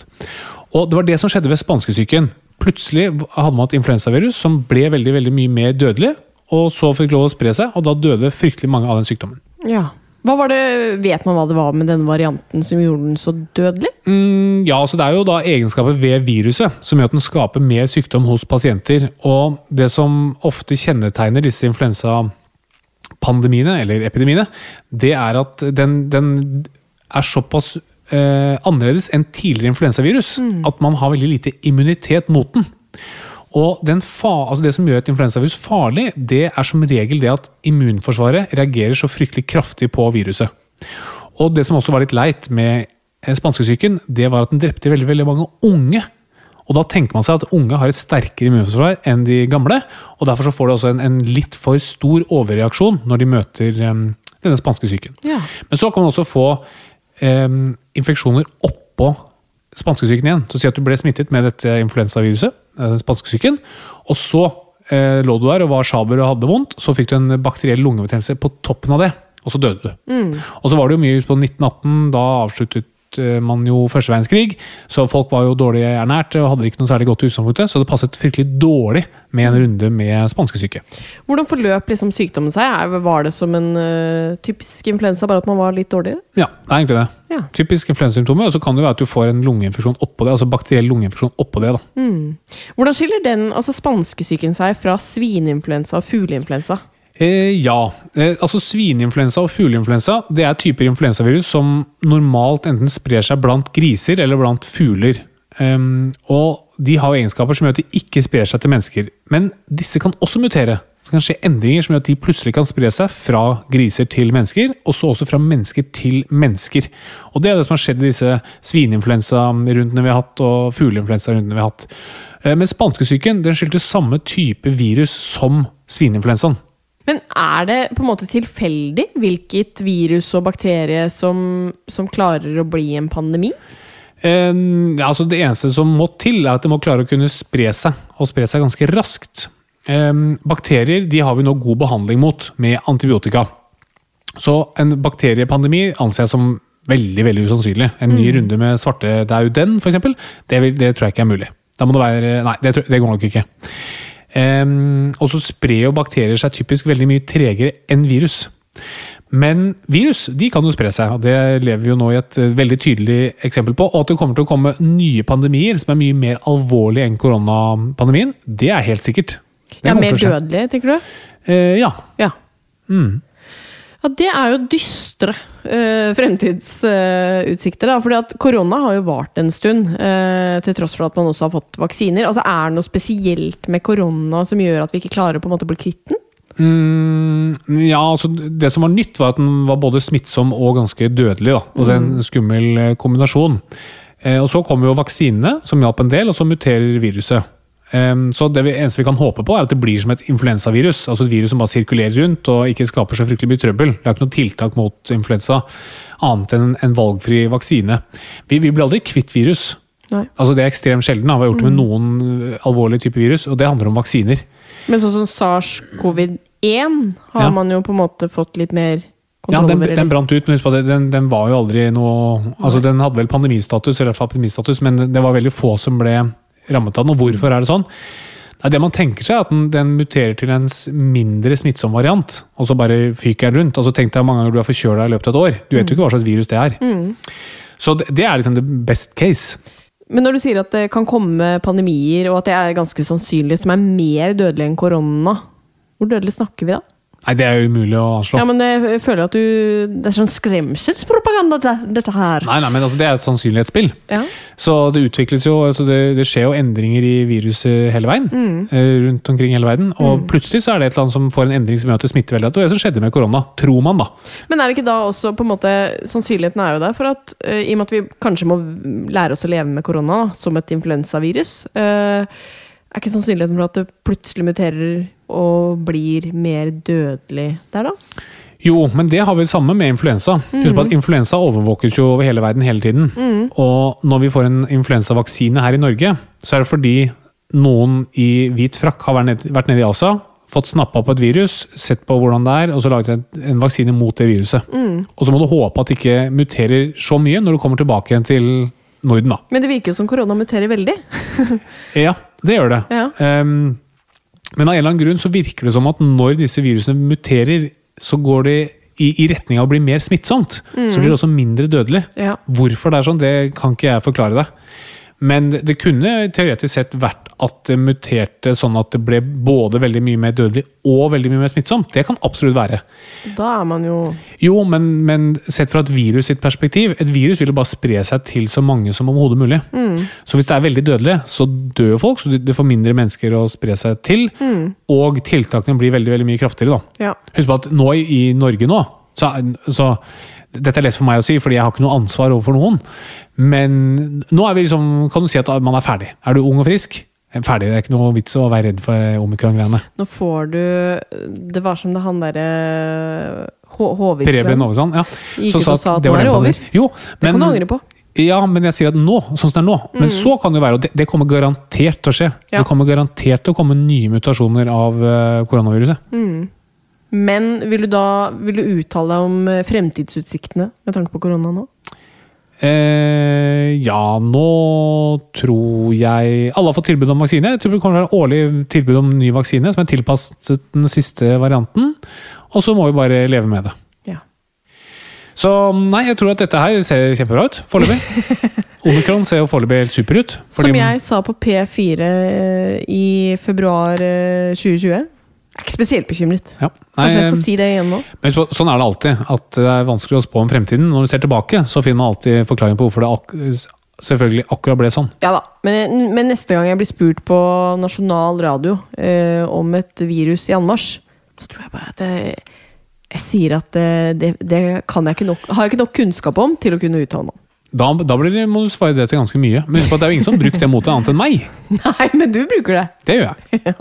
Speaker 3: Og det var det som skjedde ved spanskesyken. Plutselig hadde man et influensavirus som ble veldig, veldig mye mer dødelig, og så fikk lov å spre seg, og da døde fryktelig mange av den sykdommen.
Speaker 2: Ja. Hva var det, Vet man hva det var med denne varianten som gjorde den så dødelig?
Speaker 3: Mm, ja, så Det er jo da egenskaper ved viruset som gjør at den skaper mer sykdom hos pasienter. Og det som ofte kjennetegner disse influensapandemiene, eller epidemiene, det er at den, den er såpass eh, annerledes enn tidligere influensavirus at man har veldig lite immunitet mot den. Og den fa altså Det som gjør et influensavirus farlig, det er som regel det at immunforsvaret reagerer så fryktelig kraftig på viruset. Og det som også var litt leit med eh, spanskesyken, det var at den drepte veldig, veldig mange unge. Og da tenker man seg at unge har et sterkere immunforsvar enn de gamle, og derfor så får de også en, en litt for stor overreaksjon når de møter em, denne spanskesyken.
Speaker 2: Ja.
Speaker 3: Men så kan man også få em, infeksjoner oppå spanskesyken igjen. Så si at du ble smittet med dette influensaviruset, eh, spanskesyken, og så eh, lå du der og var sjaber og hadde vondt, så fikk du en bakteriell lungebetennelse på toppen av det, og så døde du. Og så var det jo mye på 1918, da avsluttet eh, man jo første verdenskrig, så folk var jo dårlig ernært og hadde ikke noe særlig godt utgangspunkt, så det passet fryktelig dårlig med en runde med spanskesyke.
Speaker 2: Hvordan forløp liksom sykdommen seg? Er- Var det som en øh, typisk influensa, bare at man var litt dårligere?
Speaker 3: Ja, det er egentlig det.
Speaker 2: Ja.
Speaker 3: Typisk influensasymptomer, og så kan det være at du får en lungeinfeksjon oppå det, altså bakteriell lungeinfeksjon oppå det. da.
Speaker 2: Hvordan skiller den, altså spanskesyken seg fra svineinfluensa og fugleinfluensa?
Speaker 3: Eh, ja. Eh, altså Svineinfluensa og fugleinfluensa det er typer influensavirus som normalt enten sprer seg blant griser eller blant fugler. Ehm, og de har jo egenskaper som gjør at de ikke sprer seg til mennesker. Men disse kan også mutere. Så kan det skje endringer som gjør at de plutselig kan spre seg fra griser til mennesker, og så også fra mennesker til mennesker. Og det er det som har skjedd i disse svineinfluensarundene vi har hatt, og fugleinfluensarundene vi har hatt. Eh, men spanskesyken den skyldte samme type virus som svineinfluensaen.
Speaker 2: Men er det på en måte tilfeldig hvilket virus og bakterie som, som klarer å bli en pandemi?
Speaker 3: Eh, ja, altså det eneste som må til, er at det må klare å kunne spre seg, og spre seg ganske raskt. Eh, bakterier de har vi nå god behandling mot med antibiotika. Så en bakteriepandemi anser jeg som veldig veldig usannsynlig. En
Speaker 2: Mm.
Speaker 3: ny runde med svartedauden, f.eks., det, vil- det tror jeg ikke er mulig. Da må det være, nei, det, tror- det går nok ikke. Ehm, og så sprer jo bakterier seg typisk veldig mye tregere enn virus. Men virus de kan jo spre seg, og det lever vi jo nå i et eh, veldig tydelig eksempel på. Og at det kommer til å komme nye pandemier som er mye mer alvorlige enn koronapandemien, det er helt sikkert. Det
Speaker 2: Ja,
Speaker 3: kommer
Speaker 2: Mer
Speaker 3: til å skje.
Speaker 2: dødelig, tenker du?
Speaker 3: Eh, ja.
Speaker 2: Ja.
Speaker 3: Mm.
Speaker 2: Ja, Det er jo dystre eh, fremtidsutsikter. da, fordi at korona har jo vart en stund, eh, til tross for at man også har fått vaksiner. Altså, Er det noe spesielt med korona som gjør at vi ikke klarer å på en måte bli kvitt den?
Speaker 3: Mm, ja, altså Det som var nytt, var at den var både smittsom og ganske dødelig. Da. Og det er en skummel eh, kombinasjon. Eh, og Så kom jo vaksinene, som hjalp en del, og så muterer viruset. Em, så det vi, eneste vi kan håpe på, er at det blir som et influensavirus. Altså et virus som bare sirkulerer rundt og ikke skaper så fryktelig mye trøbbel. Det er ikke noe tiltak mot influensa annet enn en, en valgfri vaksine. Vi, vi blir aldri kvitt virus.
Speaker 2: Nei.
Speaker 3: Altså Det er ekstremt sjelden. da. Vi har gjort det med noen eh, alvorlige typer virus, og det handler om vaksiner.
Speaker 2: Men sånn som SARS-covid-1 har
Speaker 3: Ja.
Speaker 2: man jo på en måte fått litt mer
Speaker 3: Ja,
Speaker 2: kontroll
Speaker 3: den,
Speaker 2: over.
Speaker 3: den
Speaker 2: eller-
Speaker 3: brant ut, men husk på at den, den var jo aldri noe Altså Den hadde vel pandemistatus, eller i hvert fall pandemistatus, men det var veldig få som ble rammet av den. Og hvorfor er det sånn? Nei, det man tenker seg er at den, den muterer til en s- mindre smittsom variant, og så bare fyker den rundt. Og så tenk deg hvor mange ganger du er forkjøla i løpet av et år. Du vet jo ikke hva slags virus det er.
Speaker 2: Mm.
Speaker 3: Så det, det er liksom the best case.
Speaker 2: Men når du sier at det kan komme pandemier, og at det er ganske sannsynlig, som er mer dødelig enn korona, hvor dødelig snakker vi da?
Speaker 3: Nei, det er jo umulig å anslå.
Speaker 2: Ja, men jeg føler at du Det er sånn skremselspropaganda, dette- dette her.
Speaker 3: Nei, nei, men altså, Det er et sannsynlighetsspill.
Speaker 2: Ja.
Speaker 3: Så det utvikles jo, altså det, det skjer jo endringer i viruset hele veien. eh, rundt omkring hele verden, Og plutselig så er det et eller annet som får en endring som gjør at det smitter veldig. Det var det som skjedde med korona, tror man da.
Speaker 2: Men er det ikke da også på en måte Sannsynligheten er jo der for at eh, i og med at vi kanskje må lære oss å leve med korona da, som et influensavirus, eh, er ikke sannsynligheten for at det plutselig muterer og blir mer dødelig der, da?
Speaker 3: Jo, men det har vi det samme med influensa. Husk på at Influensa overvåkes jo over hele verden hele tiden. Og når vi får en influensavaksine her i Norge, så er det fordi noen i hvit frakk har vært nede, vært nede i Asia, fått snappa opp et virus, sett på hvordan det er, og så laget en, en vaksine mot det viruset. Og så må du håpe at det ikke muterer så mye når du kommer tilbake igjen til Norden, da.
Speaker 2: Men det virker jo som korona muterer veldig.
Speaker 3: Ja, det gjør det.
Speaker 2: Ja.
Speaker 3: Ehm, men av en eller annen grunn så virker det som at når disse virusene muterer, så går det i, i retning av å bli mer smittsomt. Så blir det også mindre dødelig.
Speaker 2: Mm. Ja.
Speaker 3: Hvorfor det er sånn, det kan ikke jeg forklare deg. Men det det kunne teoretisk sett vært at det muterte sånn at det ble både veldig mye mer dødelig og veldig mye mer smittsomt. Det kan absolutt være.
Speaker 2: Da er man jo
Speaker 3: Jo, men, men sett fra et virus sitt perspektiv, et virus vil jo bare spre seg til så mange som overhodet mulig.
Speaker 2: Mm.
Speaker 3: Så hvis det er veldig dødelig, så dør jo folk, så det- det får mindre mennesker å spre seg til.
Speaker 2: Mm.
Speaker 3: Og tiltakene blir veldig, veldig mye kraftigere, da.
Speaker 2: Ja.
Speaker 3: Husk på at nå i i Norge nå, så, er- så dette er lett for meg å si, fordi jeg har ikke noe ansvar overfor noen. Men nå er vi liksom, kan du si at man er ferdig. Er du ung og frisk? Ferdig, Det er ikke noe vits å være redd for omikron-greiene.
Speaker 2: Nå får du Det var som det han eh, derre
Speaker 3: Preben
Speaker 2: Håviskland
Speaker 3: Ovesand. Ja.
Speaker 2: Gikk
Speaker 3: Så
Speaker 2: ut og sa at
Speaker 3: det
Speaker 2: nå
Speaker 3: var
Speaker 2: er det
Speaker 3: den
Speaker 2: over.
Speaker 3: pandemien. Jo,
Speaker 2: Det
Speaker 3: men,
Speaker 2: kan du angre på.
Speaker 3: Ja, men jeg sier at nå, sånn som det er nå. Men så kan det jo være, og det, det kommer garantert til å skje.
Speaker 2: Mm. Ja.
Speaker 3: Det kommer garantert til å komme nye mutasjoner av eh, koronaviruset.
Speaker 2: Men vil du da vil du uttale deg om eh, fremtidsutsiktene med tanke på korona nå?
Speaker 3: Eh, ja, nå tror jeg Alle har fått tilbud om vaksine. Jeg tror det kommer til å være årlig tilbud om ny vaksine som er tilpasset den siste varianten. Og så må vi bare leve med det.
Speaker 2: Ja.
Speaker 3: Så nei, jeg tror at dette her ser kjempebra ut foreløpig. Omikron ser jo foreløpig helt super ut. fordi-
Speaker 2: Som jeg sa på P4 eh, i februar eh, 2020. Jeg er ikke spesielt bekymret.
Speaker 3: Ja. Nei,
Speaker 2: Kanskje jeg skal si det igjen nå?
Speaker 3: Men husk på, sånn er det alltid, at det er vanskelig å spå om fremtiden. Når du ser tilbake, så finner man alltid forklaring på hvorfor det ak selvfølgelig akkurat ble sånn.
Speaker 2: Ja da. Men, men neste gang jeg blir spurt på nasjonal radio eh, om et virus i anmarsj, så tror jeg bare at jeg, jeg sier at eh, det, det kan jeg ikke nok, har jeg ikke nok kunnskap om til å kunne uttale meg om.
Speaker 3: Da, da blir det, må du svare det til ganske mye. Men husk på at det er jo ingen som har brukt det mot deg annet enn meg.
Speaker 2: Nei, men du bruker det!
Speaker 3: Det gjør jeg.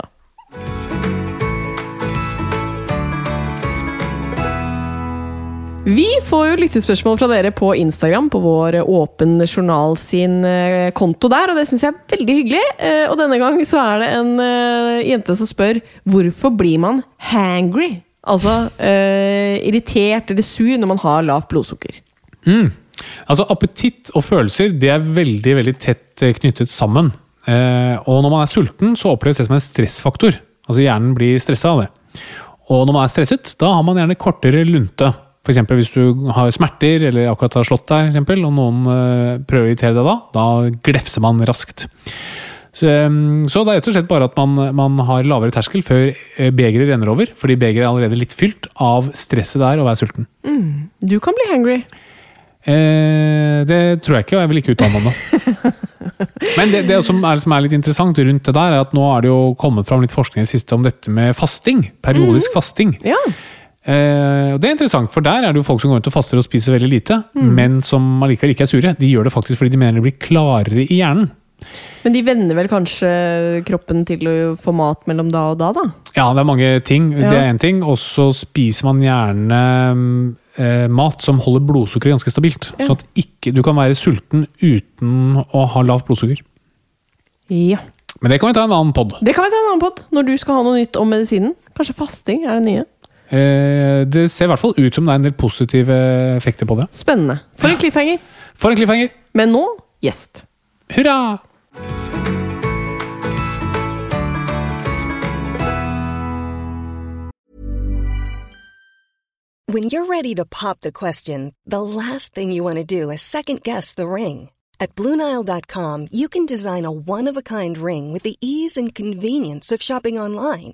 Speaker 2: Vi får jo lyttespørsmål fra dere på Instagram, på vår Åpen journal sin eh, konto der, og det syns jeg er veldig hyggelig. Eh, Og denne gang så er det en eh, jente som spør hvorfor blir man hangry? Altså eh, irritert eller sur når man har lavt blodsukker.
Speaker 3: Altså, appetitt og følelser det er veldig veldig tett eh, knyttet sammen. Eh, og når man er sulten, så oppleves det som en stressfaktor. Altså Hjernen blir stressa av det. Og når man er stresset, da har man gjerne kortere lunte. F.eks. hvis du har smerter eller akkurat har slått deg, for eksempel, og noen eh, prøver å irritere deg da, da glefser man raskt. Så, ehm, så det er rett og slett bare at man, man har lavere terskel før eh, begeret renner over, fordi begeret er allerede litt fylt av stresset det er å være sulten.
Speaker 2: Du kan bli hangry.
Speaker 3: Eh, det tror jeg ikke, og jeg vil ikke uttale meg om det. Men det, det som, er, som er litt interessant rundt det der, er at nå er det jo kommet fram litt forskning i det siste om dette med fasting. Periodisk fasting.
Speaker 2: Ja.
Speaker 3: Eh, og det er interessant, for der er det jo folk som går rundt og faster og spiser veldig lite, men som allikevel ikke er sure. De gjør det faktisk fordi de mener det blir klarere i hjernen.
Speaker 2: Men de vender vel kanskje kroppen til å få mat mellom da og da, da?
Speaker 3: Ja, det er mange ting.
Speaker 2: Ja.
Speaker 3: Det er én ting. Og så spiser man gjerne mm, eh, mat som holder blodsukkeret ganske stabilt. Sånn at ikke, du kan være sulten uten å ha lavt blodsukker.
Speaker 2: Ja.
Speaker 3: Men det kan vi ta en annen pod.
Speaker 2: Det kan vi ta en annen pod når du skal ha noe nytt om medisinen. Kanskje fasting er det nye.
Speaker 3: Eh, det ser i hvert fall ut som det er en del positive effekter på det.
Speaker 2: Spennende. For en cliffhanger.
Speaker 3: For en cliffhanger!
Speaker 2: Men nå gjest.
Speaker 3: Hurra!
Speaker 4: When you're ready to pop the question, the last thing you want to do is second guess the ring. At Bluenile.com, you can design a one of a kind ring with the ease and convenience of shopping online.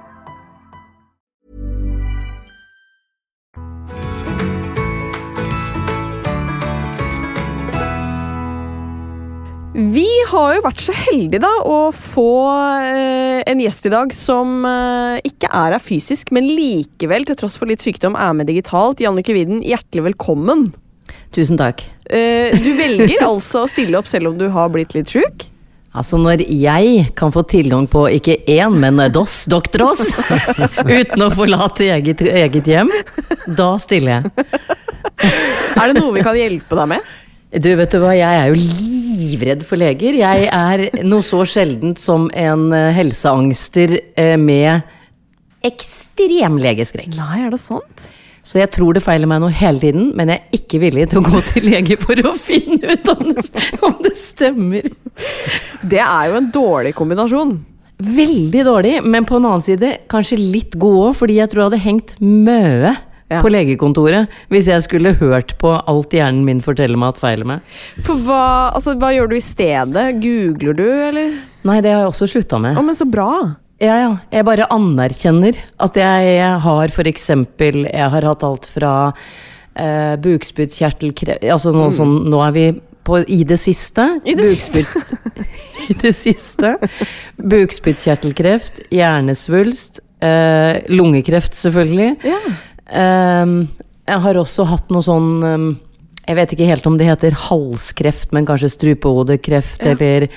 Speaker 2: Vi har jo vært så heldige da å få eh, en gjest i dag som eh, ikke er her fysisk, men likevel, til tross for litt sykdom, er med digitalt. Jannicke Widen, hjertelig velkommen.
Speaker 5: Tusen takk.
Speaker 2: Eh, du velger altså å stille opp selv om du har blitt litt sjuk.
Speaker 5: Altså når jeg kan få tilgang på ikke én, men DOS, Doktoros, uten å forlate eget, eget hjem, da stiller jeg.
Speaker 2: Er det noe vi kan hjelpe deg med?
Speaker 5: Du, vet du hva, jeg er jo livredd for leger. Jeg er noe så sjeldent som en eh, helseangster eh, med ekstrem legeskrekk.
Speaker 2: Nei, er det sant?
Speaker 5: Så jeg tror det feiler meg noe hele tiden, men jeg er ikke villig til å gå til lege for å finne ut om det, om det stemmer.
Speaker 2: Det er jo en dårlig kombinasjon.
Speaker 5: Veldig dårlig, men på en annen side kanskje litt god òg, fordi jeg tror jeg hadde hengt møe
Speaker 2: Ja.
Speaker 5: på legekontoret hvis jeg skulle hørt på alt hjernen min forteller meg at feiler meg.
Speaker 2: For hva, altså, hva gjør du i stedet? Googler du, eller?
Speaker 5: Nei, det har jeg også slutta med.
Speaker 2: Å, men så bra.
Speaker 5: Ja, ja. Jeg er bare anerkjenner at jeg har for eksempel Jeg har hatt alt fra eh, bukspyttkjertelkreft Altså nå, sånn, nå er vi på, i det siste.
Speaker 2: I det siste.
Speaker 5: Bukspytt- I det siste. Bukspyttkjertelkreft, hjernesvulst, eh, lungekreft selvfølgelig.
Speaker 2: Ja.
Speaker 5: Ehm, jeg har også hatt noe sånn ehm, Jeg vet ikke helt om det heter halskreft, men kanskje strupehodekreft eller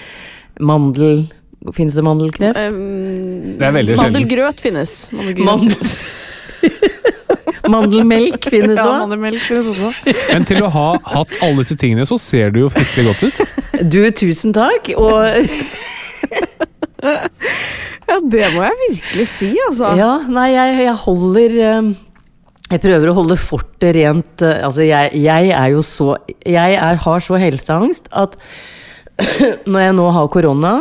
Speaker 5: mandel... Fins det mandelkreft?
Speaker 2: Um,
Speaker 3: Det er veldig sjeldent.
Speaker 2: mandelgrøt finnes. Mandelgrøt.
Speaker 5: Mandels. Mandelmelk finnes
Speaker 2: Ja,
Speaker 5: òg.
Speaker 2: mandelmelk finnes også.
Speaker 3: Men til å ha hatt alle disse tingene, så ser du jo fryktelig godt ut.
Speaker 5: Du, tusen takk. Og
Speaker 2: Ja, det må jeg virkelig si, altså.
Speaker 5: ja, nei, jeg, jeg holder eh,
Speaker 4: ehm,
Speaker 5: Jeg prøver å holde fortet rent. eh, Altså, jeg, jeg er jo så Jeg er, har så helseangst at når jeg nå har korona,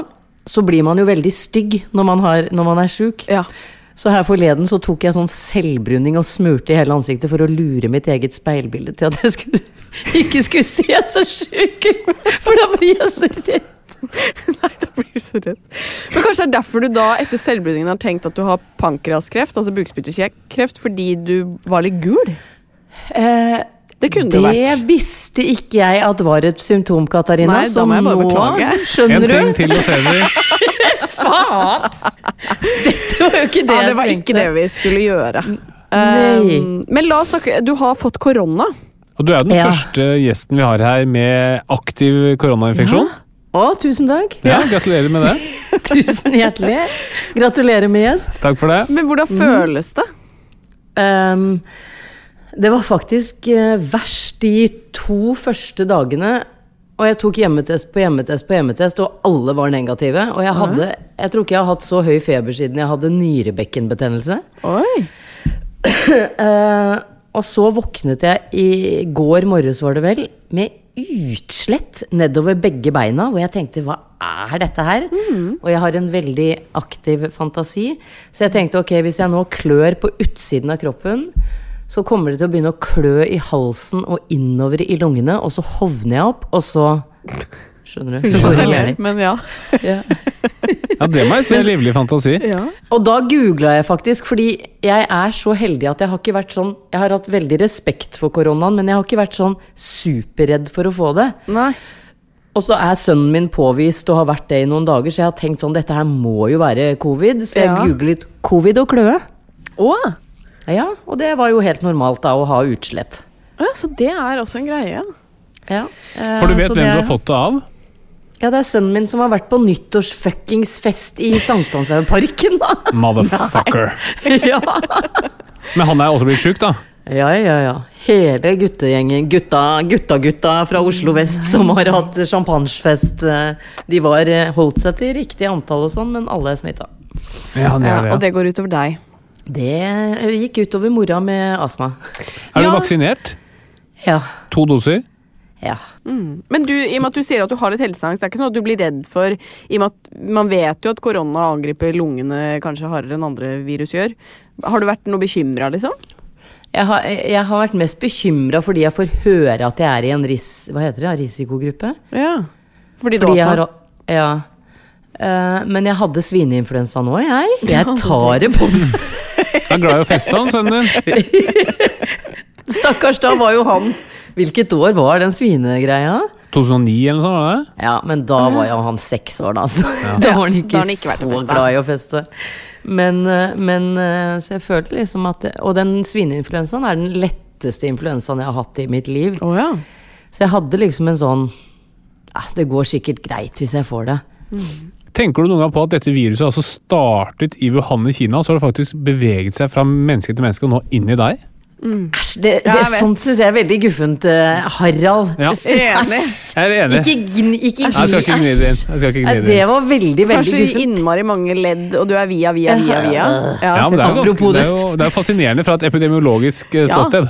Speaker 5: så blir man jo veldig stygg når man, har, når man er sjuk.
Speaker 2: Ja.
Speaker 5: Så her forleden så tok jeg sånn selvbruning og smurte i hele ansiktet for å lure mitt eget speilbilde til at jeg skulle, ikke skulle se så sjuk ut! For da blir jeg så redd.
Speaker 2: Nei, da blir du så redd. Men kanskje det er derfor du da etter selvbruningen har tenkt at du har pankreaskreft, altså bukspyttekreft, fordi du var litt gul?
Speaker 5: Eh,
Speaker 2: Det kunne det, vært.
Speaker 5: visste ikke jeg at var et symptom, Katarina.
Speaker 2: Nei, da
Speaker 5: så
Speaker 2: må jeg bare
Speaker 5: nå
Speaker 2: beklage.
Speaker 3: En
Speaker 5: skjønner
Speaker 3: ting
Speaker 5: du.
Speaker 3: til å se etter.
Speaker 4: faen! Dette var jo ikke det
Speaker 2: ja, det
Speaker 4: jeg
Speaker 2: var ikke
Speaker 4: tenkte.
Speaker 2: det vi skulle gjøre.
Speaker 4: Nei.
Speaker 2: Um, men la oss snakke Du har fått korona.
Speaker 3: Og du er jo den
Speaker 2: Ja.
Speaker 3: første gjesten vi har her med aktiv koronainfeksjon.
Speaker 4: Å, tusen takk.
Speaker 3: Ja, Gratulerer med det.
Speaker 4: Tusen hjertelig. Gratulerer med gjest.
Speaker 3: Takk for det.
Speaker 2: Men hvordan føles det?
Speaker 4: det var faktisk eh, verst de to første dagene. Og jeg tok hjemmetest på hjemmetest på hjemmetest, og alle var negative. Og jeg hadde Jeg tror ikke jeg har hatt så høy feber siden jeg hadde nyrebekkenbetennelse.
Speaker 2: Oi.
Speaker 4: Eh, og så våknet jeg i går morges, var det vel, med utslett nedover begge beina. Og jeg tenkte hva er dette her? Og jeg har en veldig aktiv fantasi. Så jeg tenkte ok, hvis jeg nå klør på utsiden av kroppen, så kommer det til å begynne å klø i halsen og innover i lungene, og så hovner jeg opp, og så Skjønner du? Så går det gjerne.
Speaker 2: men ja.
Speaker 3: Ja, Det må jeg si er livlig fantasi.
Speaker 4: Og da googla jeg faktisk, fordi jeg er så heldig at jeg har ikke vært sånn Jeg har hatt veldig respekt for koronaen, men jeg har ikke vært sånn superredd for å få det. Og så er sønnen min påvist og har vært det i noen dager, så jeg har tenkt sånn Dette her må jo være covid, så jeg
Speaker 2: Ja.
Speaker 4: googlet covid og kløe.
Speaker 2: Å!
Speaker 4: Ja, og det var jo helt normalt da, å ha utslett.
Speaker 2: Ja, så det er også en greie.
Speaker 4: Ja. eh,
Speaker 3: For du vet
Speaker 4: så
Speaker 3: hvem
Speaker 4: det-
Speaker 3: du har fått det av?
Speaker 4: Ja, det er sønnen min som har vært på nyttårsfuckingsfest i Sankthanshaugenparken, da.
Speaker 3: Motherfucker.
Speaker 4: ja.
Speaker 3: Men han er også blitt sjuk, da.
Speaker 4: Ja, ja, ja. Hele guttegjengen. Gutta, gutta, gutta fra Oslo vest som har hatt champagnefest. eh, De var, eh, holdt seg til riktig antall og sånn, men alle er smitta.
Speaker 3: Ja, han
Speaker 2: Ja, og det går utover deg.
Speaker 4: Det eh, gikk utover mora med astma.
Speaker 3: Er du
Speaker 2: Ja.
Speaker 3: vaksinert?
Speaker 4: Ja.
Speaker 3: To doser?
Speaker 4: Ja.
Speaker 2: Men du, i og med at du sier at du har litt helseangst, det er ikke noe du blir redd for i og med at Man vet jo at korona angriper lungene kanskje hardere enn andre virus gjør. Har du vært noe bekymra, liksom?
Speaker 4: Jeg har, jeg har vært mest bekymra fordi jeg får høre at jeg er i en ris, hva heter det, ja, risikogruppe.
Speaker 2: Ja. Fordi, du
Speaker 4: Fordi jeg
Speaker 2: har
Speaker 4: har,
Speaker 2: astma?
Speaker 4: al- ja. Eh, men jeg hadde svineinfluensa nå, jeg. Jeg tar det på
Speaker 3: Han er glad i å feste, han sønnen din.
Speaker 4: Stakkars, da var jo han Hvilket år var den svinegreia?
Speaker 3: 2009 eller noe sånt? var det?
Speaker 4: Ja, men da var jo han seks år, da. Så da var han ikke,
Speaker 2: Da har han ikke vært
Speaker 4: så glad i å feste. Men, eh, men eh, så jeg følte liksom at det- Og den svineinfluensaen er den letteste influensaen jeg har hatt i mitt liv.
Speaker 2: Å ja.
Speaker 4: Så jeg hadde liksom en sånn eh, Det går sikkert greit hvis jeg får det.
Speaker 3: Tenker du noen gang på at dette viruset altså startet i Wuhan i Kina, og så har det faktisk beveget seg fra menneske til menneske og nå inn i deg?
Speaker 4: Æsj, det, det,
Speaker 2: Ja, jeg vet.
Speaker 4: sånt syns jeg er veldig guffent, eh, Harald.
Speaker 3: Ja.
Speaker 2: Enig.
Speaker 3: Jeg er enig.
Speaker 4: Ikke gni, ikke
Speaker 3: Nei, Jeg skal
Speaker 4: gni.
Speaker 3: ikke gni det inn. Jeg skal ikke
Speaker 4: Nei,
Speaker 3: gni det
Speaker 4: Det
Speaker 3: inn.
Speaker 4: var veldig, veldig
Speaker 2: Kanskje
Speaker 4: guffent.
Speaker 2: innmari mange ledd, og du er via, via, via. via.
Speaker 3: Ja, men det er jo ganske,
Speaker 4: Apropos
Speaker 3: det
Speaker 4: det.
Speaker 3: er jo det er jo fascinerende fra et epidemiologisk eh, ståsted.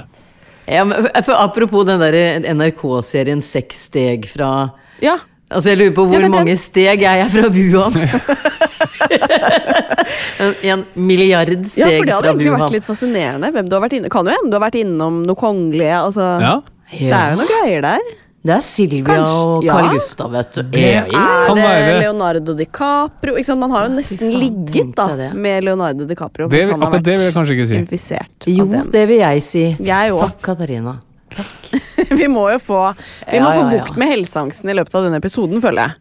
Speaker 4: Ja, men eh, for Apropos den der NRK-serien Seks steg fra
Speaker 2: Ja.
Speaker 4: Altså, jeg lurer på hvor
Speaker 2: det er den.
Speaker 4: mange steg er jeg fra Wuhan? En- en milliard
Speaker 2: Ja,
Speaker 4: steg
Speaker 2: for det
Speaker 4: fra
Speaker 2: hadde egentlig
Speaker 4: Wuhan.
Speaker 2: vært litt fascinerende. Hvem du har vært inne. Kan jo hende du har vært innom noe kongelige. Altså,
Speaker 3: Ja.
Speaker 2: Det er jo noen greier der.
Speaker 4: Det er Silvia
Speaker 2: Kanskje-
Speaker 4: og
Speaker 2: ja.
Speaker 4: Carl Gustav, vet du.
Speaker 3: Det
Speaker 2: Er
Speaker 3: kan
Speaker 2: det
Speaker 3: være
Speaker 2: Leonardo DiCaprio? Ikke sant? Man har jo nesten ligget da
Speaker 4: tenkte jeg det.
Speaker 2: med Leonardo DiCaprio
Speaker 3: det,
Speaker 2: hvis han har
Speaker 3: Akkurat
Speaker 2: vært
Speaker 3: det vil jeg kanskje ikke si.
Speaker 2: infisert
Speaker 4: Jo,
Speaker 2: av den.
Speaker 4: det vil jeg si.
Speaker 2: Jeg òg.
Speaker 4: Takk, Katarina.
Speaker 2: Vi må jo få, vi må
Speaker 4: Ja, ja,
Speaker 2: få
Speaker 4: ja.
Speaker 2: bukt med helseangsten i løpet av denne episoden, føler jeg.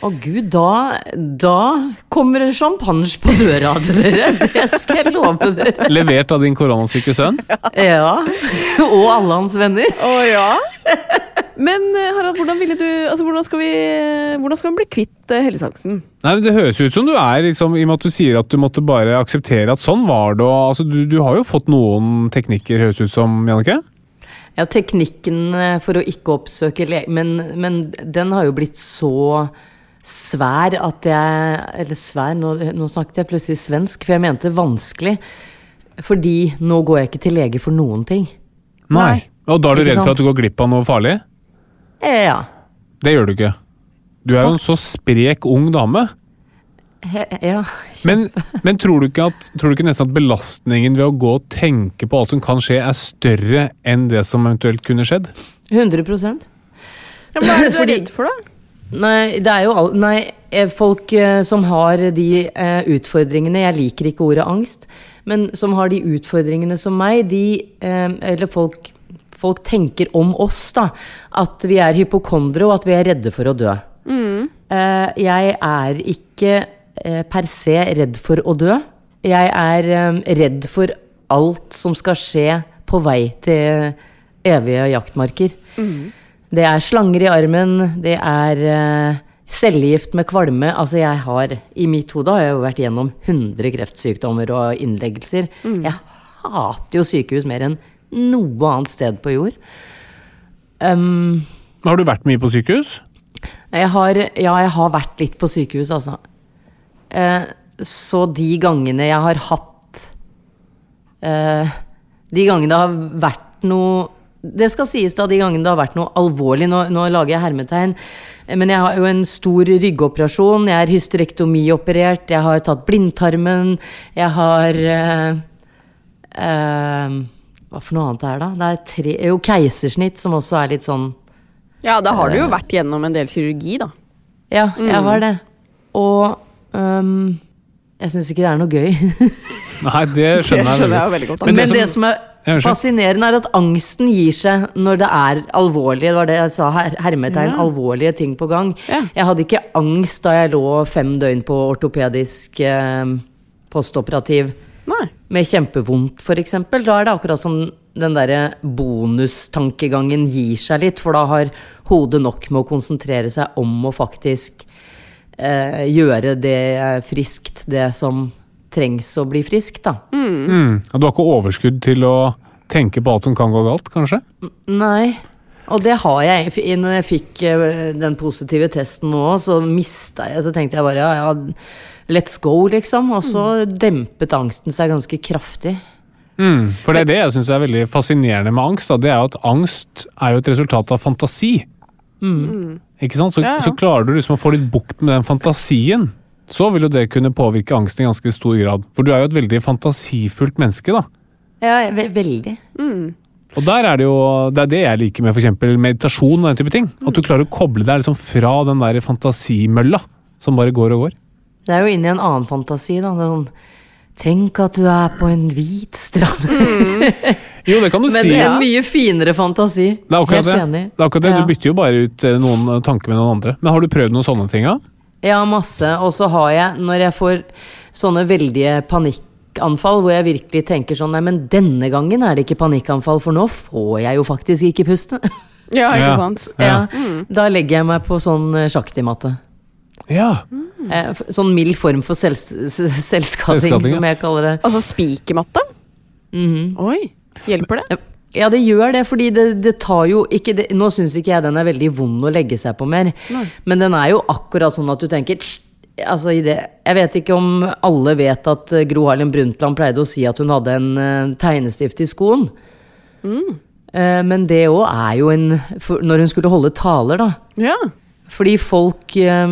Speaker 4: Å gud, da, da kommer en champagne på døra til dere. Det skal jeg love dere.
Speaker 3: Levert av din koronasyke sønn?
Speaker 4: Ja. Og alle hans venner.
Speaker 2: Å ja? Men eh, Harald, hvordan, ville du, altså, hvordan, skal vi, hvordan skal man bli kvitt eh, helseangsten?
Speaker 3: Nei, men Det høres ut som du er liksom, i og med at du sier at du måtte bare akseptere at sånn var det. Og, altså, du, du har jo fått noen teknikker, høres ut som, Jannicke?
Speaker 4: Ja, teknikken eh, for å ikke oppsøke lege men, men den har jo blitt så svær at jeg Eller svær, nå, nå snakket jeg plutselig svensk, for jeg mente vanskelig. Fordi nå går jeg ikke til lege for noen ting.
Speaker 3: Nei. Og da er du
Speaker 4: Ikke
Speaker 3: redd for
Speaker 4: sant?
Speaker 3: at du går glipp av noe farlig?
Speaker 4: Eh, Ja.
Speaker 3: Det gjør du ikke. Du er jo en så sprek ung dame.
Speaker 4: He- ja.
Speaker 3: Men, men tror, du ikke at, tror du ikke nesten at belastningen ved å gå og tenke på alt som kan skje, er større enn det som eventuelt kunne skjedd?
Speaker 4: 100
Speaker 2: Ja, hva er det du er
Speaker 4: Fordi-
Speaker 2: redd for, da?
Speaker 4: Nei, det er jo all, nei, eh, folk eh, som har de eh, utfordringene Jeg liker ikke ordet angst, men som har de utfordringene som meg, de eh, Eller folk, folk tenker om oss, da. At vi er hypokondere, og at vi er redde for å dø. Eh, jeg er ikke eh, per se redd for å dø. Jeg er eh, redd for alt som skal skje på vei til eh, evige jaktmarker.
Speaker 6: Mm.
Speaker 4: Det er slanger i armen, det er eh, cellegift med kvalme. Altså, jeg har I mitt hode har jeg jo vært gjennom 100 kreftsykdommer og innleggelser. Jeg hater jo sykehus mer enn noe annet sted på jord. Um,
Speaker 3: Har du vært mye på sykehus?
Speaker 4: jeg har, ja, jeg har vært litt på sykehus, altså. Eh, så de gangene jeg har hatt eh, De gangene det har vært noe Det skal sies da, de gangene det har vært noe alvorlig. Nå, nå lager jeg hermetegn. eh, Men jeg har jo en stor ryggoperasjon. Jeg er hysterektomioperert. Jeg har tatt blindtarmen. Jeg har eh, eh, Hva for noe annet er det, da? Det er tre, jo, keisersnitt, som også er litt sånn
Speaker 6: Ja, da har du jo vært gjennom en del kirurgi, da.
Speaker 4: Ja, jeg
Speaker 6: Mm.
Speaker 4: har det. Og øhm, jeg syns ikke det er noe gøy.
Speaker 3: Nei, det skjønner, veldig godt.
Speaker 4: Men, det, som,
Speaker 3: Ja,
Speaker 4: er
Speaker 3: unnskyld.
Speaker 4: fascinerende, er at angsten gir seg når det er alvorlig. Det var det jeg sa, her, hermetegn,
Speaker 6: Ja.
Speaker 4: alvorlige ting på gang. Jeg hadde ikke angst da jeg lå fem døgn på ortopedisk øhm, postoperativ med kjempevondt, f.eks. Da er det akkurat som den derre bonustankegangen gir seg litt, for da har hodet nok med å konsentrere seg om å faktisk eh, gjøre det eh, friskt, det som trengs å bli friskt, da.
Speaker 3: Mm. Og Du har ikke overskudd til å tenke på alt som kan gå galt, kanskje?
Speaker 4: Nei. Og det har jeg. F- Når jeg fikk eh, den positive testen nå, så mista jeg Så tenkte jeg bare ja, ja let's go, liksom. Og så dempet angsten seg ganske kraftig.
Speaker 3: Mm. For det er det jeg syns er veldig fascinerende med angst. Da. Det er jo at angst er jo et resultat av fantasi. Ikke sant? Så,
Speaker 4: Mm. Ja, ja.
Speaker 3: så klarer du liksom å få litt bukt med den fantasien. Så vil jo det kunne påvirke angsten i ganske stor grad. For du er jo et veldig fantasifullt menneske, da.
Speaker 4: Ja, ve veldig.
Speaker 3: Og der er det jo Det er det jeg liker med for eksempel meditasjon og den type ting. At du klarer å koble deg liksom fra den der fantasimølla som bare går og går.
Speaker 4: Det er jo inni en annen fantasi, da. Det er sånn Tenk at du er på en hvit strand.
Speaker 3: Jo, det kan du
Speaker 4: Men
Speaker 3: si.
Speaker 4: en mye finere fantasi.
Speaker 3: Det er
Speaker 4: Helt
Speaker 3: akkurat det.
Speaker 4: enig.
Speaker 3: det, er akkurat det.
Speaker 4: Ja.
Speaker 3: Du bytter jo bare ut eh, noen eh, tanker med noen andre. Men har du prøvd noen sånne ting, da?
Speaker 4: Ja, masse. Og så har jeg, når jeg får sånne veldige panikkanfall hvor jeg virkelig tenker sånn Nei, men denne gangen er det ikke panikkanfall, for nå får jeg jo faktisk ikke puste.
Speaker 6: Ja, ikke Ja. sant?
Speaker 4: Ja.
Speaker 6: Ja. Mm.
Speaker 4: Da legger jeg meg på sånn eh, sjakktimatte.
Speaker 3: Ja.
Speaker 4: Eh, f- Sånn mild form for selv, s- selvskading,
Speaker 6: Selvskading, ja.
Speaker 4: som jeg kaller det.
Speaker 6: Altså spikermatte?
Speaker 2: Mhm.
Speaker 6: Oi. Hjelper det?
Speaker 4: Ja, det gjør det, fordi det, det tar jo ikke det, Nå syns ikke jeg den er veldig vond å legge seg på mer,
Speaker 6: Nei.
Speaker 4: men den er jo akkurat sånn at du tenker «Tsst!» Altså i det, Jeg vet ikke om alle vet at eh, Gro Harlem Brundtland pleide å si at hun hadde en eh, tegnestift i skoen. Eh, Men det òg er jo en for Når hun skulle holde taler, da. Fordi folk eh,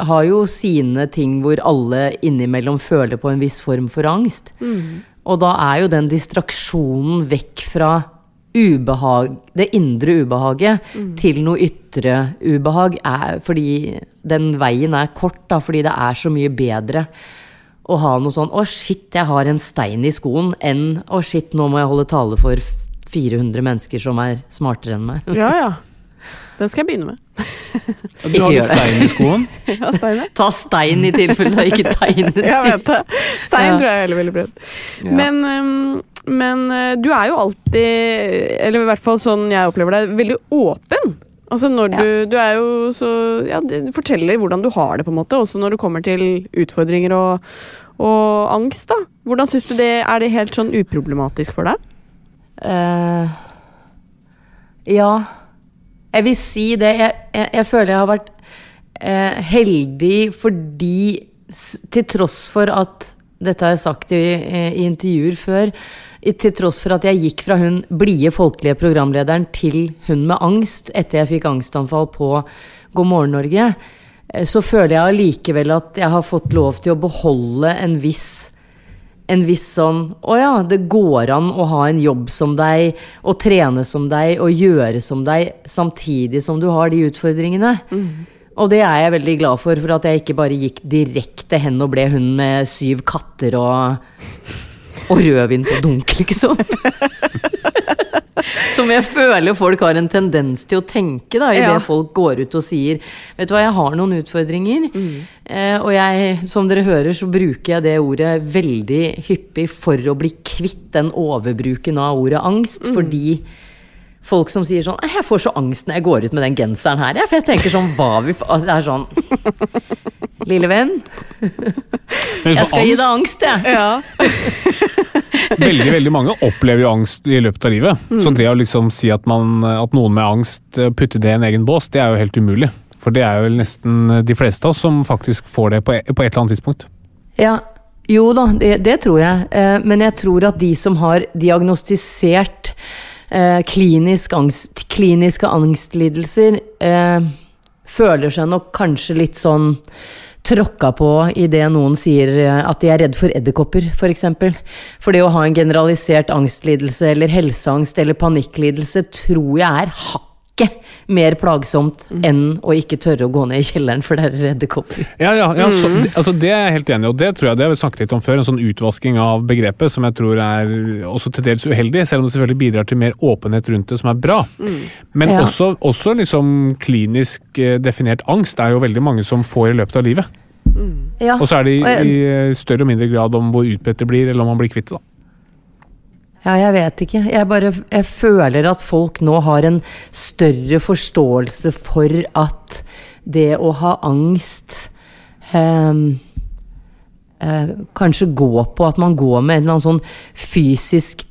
Speaker 4: har jo sine ting hvor alle innimellom føler på en viss form for angst. Og da er jo den distraksjonen vekk fra ubehag, det indre ubehaget til noe ytre ubehag, er, fordi den veien er kort, da, fordi det er så mye bedre å ha noe sånn 'Å, shit, jeg har en stein i skoen', enn 'Å, shit, nå må jeg holde tale for 400 mennesker som er smartere enn meg'.
Speaker 6: Ja ja. Den skal jeg begynne med.
Speaker 4: Ikke
Speaker 6: har
Speaker 4: gjør det.
Speaker 6: stein i
Speaker 3: skoen?
Speaker 6: Ja, stein, ja.
Speaker 4: Ta stein i tilfelle det ikke tegnes
Speaker 6: Jeg vet det. Stein tror jeg er veldig veldig prøvd.
Speaker 4: Ja.
Speaker 6: Men, um, men uh, du er jo alltid, eller i hvert fall sånn jeg opplever deg, veldig åpen. Altså når du, du er jo så ja, Du forteller hvordan du har det, på en måte, også når det kommer til utfordringer og, og angst. da. Hvordan synes du det, Er det helt sånn uproblematisk for deg?
Speaker 4: Eh, ja. Jeg vil si det. Jeg, jeg, jeg føler jeg har vært eh, heldig fordi s- Til tross for at Dette har jeg sagt i, eh, i intervjuer før. i- Til tross for at jeg gikk fra hun blide, folkelige programlederen til hun med angst etter jeg fikk angstanfall på God morgen, Norge, eh, så føler jeg allikevel at jeg har fått lov til å beholde en viss en viss sånn Å ja, det går an å ha en jobb som deg, og trene som deg, og gjøre som deg, samtidig som du har de utfordringene. Og det er jeg veldig glad for, for at jeg ikke bare gikk direkte hen og ble hun med syv katter og, og rødvin på dunk, liksom. Som jeg føler folk har en tendens til å tenke, da, idet
Speaker 6: Ja.
Speaker 4: folk går ut og sier Vet du hva, jeg har noen utfordringer. Eh, og jeg, som dere hører, så bruker jeg det ordet veldig hyppig for å bli kvitt den overbruken av ordet angst, fordi Folk som sier sånn «Nei, 'Jeg får så angst når jeg går ut med den genseren her', jeg, for jeg tenker sånn Hva vi f- altså, Det er sånn Lille venn, jeg skal gi deg angst, jeg.
Speaker 3: Veldig veldig mange opplever jo angst i løpet av livet. Så det å liksom si at, man, at noen med angst eh, putter det i en egen bås, det er jo helt umulig. For det er jo nesten eh, de fleste av oss som faktisk får det på e- på et eller annet tidspunkt.
Speaker 4: Ja, jo da, det, det tror jeg. Eh, men jeg tror at de som har diagnostisert eh, klinisk angst, kliniske angstlidelser, eh, føler seg nok kanskje litt sånn tråkka på idet noen sier eh, at de er redd for edderkopper, f.eks. For, eksempel. for det å ha en generalisert angstlidelse eller helseangst eller panikklidelse tror jeg er hakket mer plagsomt enn å ikke tørre å gå ned i kjelleren for det er edderkopper.
Speaker 3: Ja, ja, ja så,
Speaker 4: Mm.
Speaker 3: det, altså det er jeg helt enig i, og det tror jeg det har vi snakket litt om før. En sånn utvasking av begrepet som jeg tror er også til dels uheldig, selv om det selvfølgelig bidrar til mer åpenhet rundt det, som er bra. Men
Speaker 4: Mm. Ja.
Speaker 3: også, også liksom klinisk eh, definert angst er jo veldig mange som får i løpet av livet.
Speaker 4: Ja.
Speaker 3: Og så er det i,
Speaker 4: og jeg-
Speaker 3: i eh, større og mindre grad om hvor utbredt det blir, eller om man blir kvitt det. da.
Speaker 4: Ja, jeg vet ikke. Jeg bare jeg føler at folk nå har en større forståelse for at det å ha angst ehm, eh, Kanskje gå på at man går med en eller annen sånn fysisk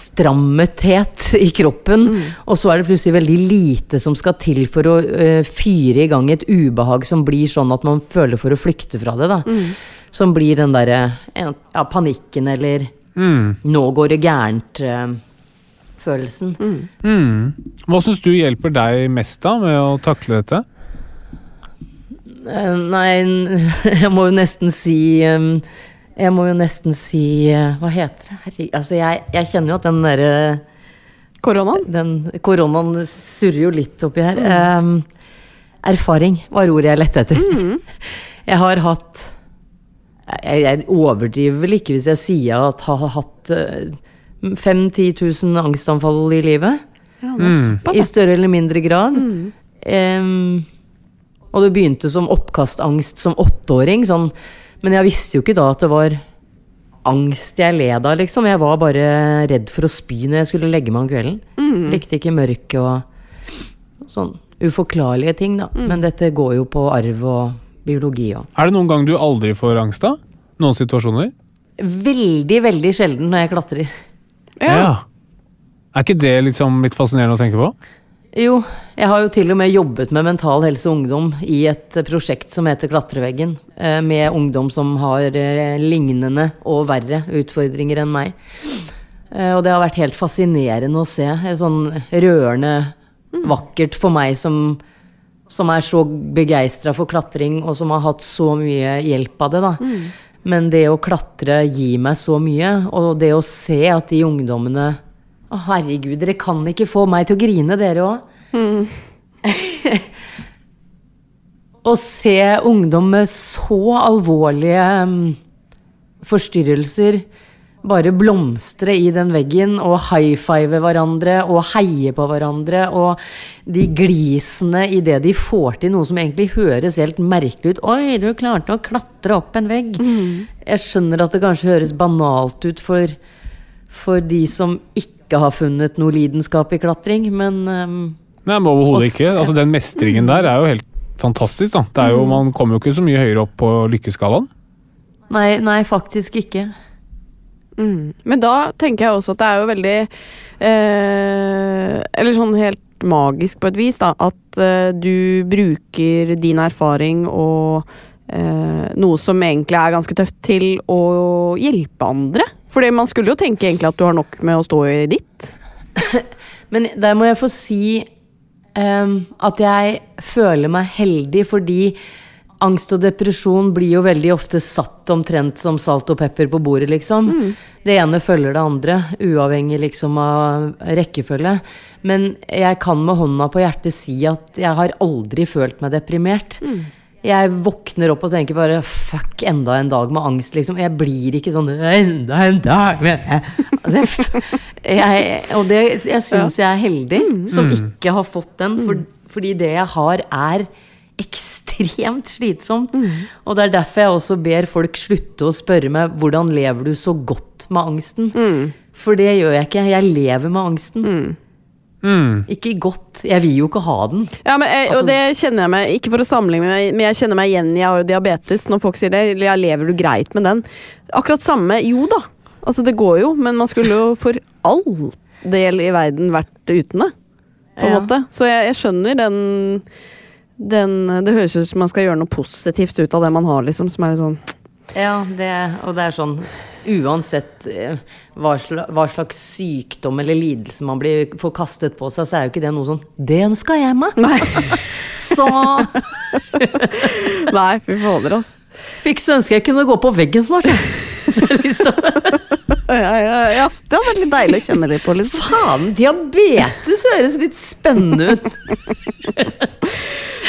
Speaker 4: tilstrammethet i kroppen, og så er det plutselig veldig lite som skal til for å eh, fyre i gang et ubehag som blir sånn at man føler for å flykte fra det. da.
Speaker 6: Mm.
Speaker 4: Som blir den derre eh, ja, panikken eller
Speaker 3: Mm.
Speaker 4: 'nå går det eh, gærent'-følelsen.
Speaker 3: Mm. Hva syns du hjelper deg mest da med å takle dette?
Speaker 4: Eh, Nei, n- jeg må jo nesten si eh, Jeg må jo nesten si eh, Hva heter det? Herregud, altså jeg, jeg kjenner jo at den derre
Speaker 6: Koronaen?
Speaker 4: Den koronaen surrer jo litt oppi her.
Speaker 6: Mm.
Speaker 4: Eh, erfaring var ordet jeg lette etter.
Speaker 6: Mm.
Speaker 4: Jeg har hatt jeg, jeg overdriver vel ikke hvis jeg sier at jeg har hatt eh, 5 10 000 angstanfall i livet.
Speaker 6: Ja, det er Mm. såpass, ja.
Speaker 4: I større eller mindre grad. Em, og det begynte som oppkastangst som åtteåring. Sånn, men jeg visste jo ikke da at det var angst jeg led av, liksom. Jeg var bare redd for å spy når jeg skulle legge meg om kvelden.
Speaker 6: Mm.
Speaker 4: Likte ikke mørket og sånn uforklarlige ting, da. Men dette går jo på arv og biologi og
Speaker 3: Er det noen gang du aldri får angst da? Noen situasjoner?
Speaker 4: Veldig, veldig sjelden når jeg klatrer.
Speaker 3: Er ikke det liksom litt fascinerende å tenke på?
Speaker 4: Jo, jeg har jo til og med jobbet med Mental Helse Ungdom i et eh, prosjekt som heter Klatreveggen, eh, med ungdom som har eh, lignende og verre utfordringer enn meg. Eh, Og det har vært helt fascinerende å se. eh, Sånn rørende vakkert for meg som, som er så begeistra for klatring, og som har hatt så mye hjelp av det, da. Men det å klatre gir meg så mye, og det å se at de ungdommene Å, herregud, dere kan ikke få meg til å grine, dere òg. Å se ungdom med så alvorlige mm, forstyrrelser bare blomstre i den veggen og high-five hverandre og heie på hverandre, og de glisene i det de får til, noe som egentlig høres helt merkelig ut. Oi, du klarte å klatre opp en vegg. Jeg skjønner at det kanskje høres banalt ut for, for de som ikke har funnet noe lidenskap i klatring, men ehm,
Speaker 3: Nei, men overhodet ikke. Altså, den mestringen der er jo helt fantastisk. da. Det er jo, Man kommer jo ikke så mye høyere opp på lykkeskalaen.
Speaker 4: nei, nei, faktisk ikke.
Speaker 6: Mm. Men da tenker jeg også at det er jo veldig eh, Eller sånn helt magisk på et vis, da. At eh, du bruker din erfaring og eh, noe som egentlig er ganske tøft, til å hjelpe andre. Fordi man skulle jo tenke egentlig at du har nok med å stå i ditt.
Speaker 4: Men der må jeg få si ehm, at jeg føler meg heldig, fordi angst og depresjon blir jo veldig ofte satt omtrent som salt og pepper på bordet, liksom. Det ene følger det andre, uavhengig liksom av rekkefølge. Men jeg kan med hånda på hjertet si at jeg har aldri følt meg deprimert. Jeg våkner opp og tenker bare 'fuck, enda en dag med angst', liksom. Jeg blir ikke sånn 'enda en dag'. Men jeg, altså, jeg, f- Jeg, og det, jeg syns jeg er heldig som
Speaker 7: Mm.
Speaker 4: ikke har fått den, for, fordi det jeg har, er ekstremt slitsomt. Og det er derfor jeg også ber folk slutte å spørre meg hvordan lever du så godt med angsten. For det gjør jeg ikke. Jeg lever med angsten. Ikke godt. Jeg vil jo ikke ha den.
Speaker 2: Ja, men, jeg,
Speaker 4: Altså-
Speaker 2: og det kjenner jeg meg Ikke for å sammenligne meg, men jeg kjenner meg igjen. Jeg har jo diabetes. Når folk sier det, eller ja, lever du greit med den? Akkurat samme, jo da. Altså, det går jo, men man skulle jo for all del i verden vært uten det. På en
Speaker 4: Ja.
Speaker 2: måte. Så jeg, jeg skjønner den, den Det høres ut som man skal gjøre noe positivt ut av det man har, liksom. Som er litt sånn
Speaker 4: Ja, det, og det er sånn Uansett eh, hva sla- hva slags sykdom eller lidelse man blir, får kastet på seg, så er jo ikke det noe sånn Det ønska jeg meg! så
Speaker 2: Nei, fy fader, altså.
Speaker 4: Fikk så ønske jeg kunne gå på veggen snart, jeg. liksom.
Speaker 2: ja, ja, ja. Det hadde vært litt deilig å kjenne litt på, liksom.
Speaker 4: Faen, diabetes høres litt spennende ut.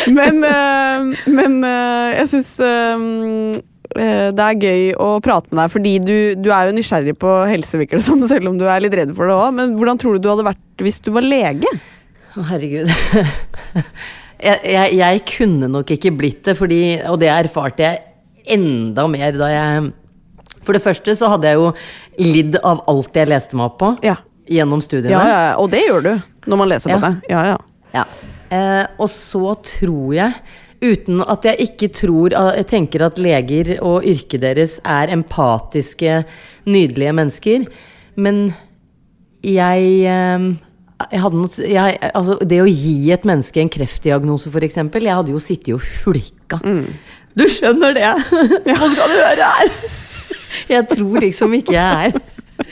Speaker 2: Men, eh, men eh, jeg syns det er gøy å prate med deg, fordi du, du er jo nysgjerrig på helse, virker det som, selv om du er litt redd for det òg. Men hvordan tror du du hadde vært hvis du var lege?
Speaker 4: Å, herregud. Jeg, jeg, jeg kunne nok ikke blitt det, fordi, og det erfarte jeg enda mer da jeg For det første så hadde jeg jo lidd av alt jeg leste meg opp på gjennom studiene.
Speaker 2: Ja, ja, og det gjør du når man leser
Speaker 4: Ja.
Speaker 2: på det. Ja, ja.
Speaker 4: Ja. Eh, og så tror jeg, uten at jeg ikke tror eh, Jeg tenker at leger og yrket deres er empatiske, nydelige mennesker, men jeg eh, jeg hadde noe, jeg, altså det å gi et menneske en kreftdiagnose, f.eks. Jeg hadde jo sittet og hulka. Du skjønner det! Hva skal du gjøre her? Jeg tror liksom ikke jeg er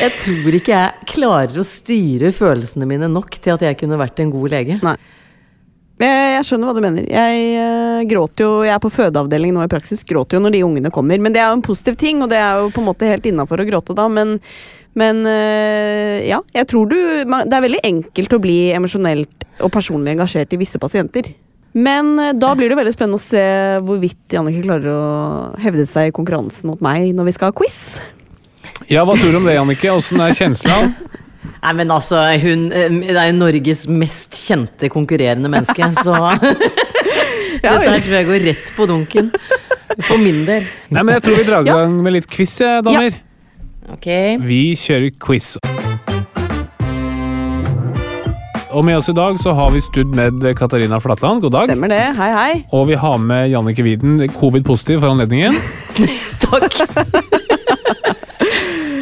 Speaker 4: Jeg tror ikke jeg klarer å styre følelsene mine nok til at jeg kunne vært en god lege.
Speaker 2: Nei. Jeg, jeg skjønner hva du mener. Jeg eh, gråter jo, jeg er på fødeavdeling nå i praksis, gråter jo når de ungene kommer. Men det er jo en positiv ting, og det er jo på en måte helt innafor å gråte da. Men, men eh, ja, jeg tror du man- Det er veldig enkelt å bli emosjonelt og personlig engasjert i visse pasienter. Men eh, da blir det veldig spennende å se hvorvidt Jannicke klarer å hevde seg i konkurransen mot meg når vi skal ha quiz.
Speaker 3: Ja, hva tror du om det, Jannicke? Åssen er kjensla?
Speaker 4: Nei, men altså, hun eh, det er jo Norges mest kjente konkurrerende menneske, så Dette her tror jeg går rett på dunken. For min del.
Speaker 3: Nei, men jeg tror vi drar i gang med litt quiz, jeg, damer.
Speaker 4: Ok.
Speaker 3: Vi kjører quiz. Og med oss i dag så har vi stud med Katarina Flatland. God dag.
Speaker 2: Stemmer det. Hei, hei.
Speaker 3: Og vi har med Jannicke Wieden, covid-positiv for anledningen.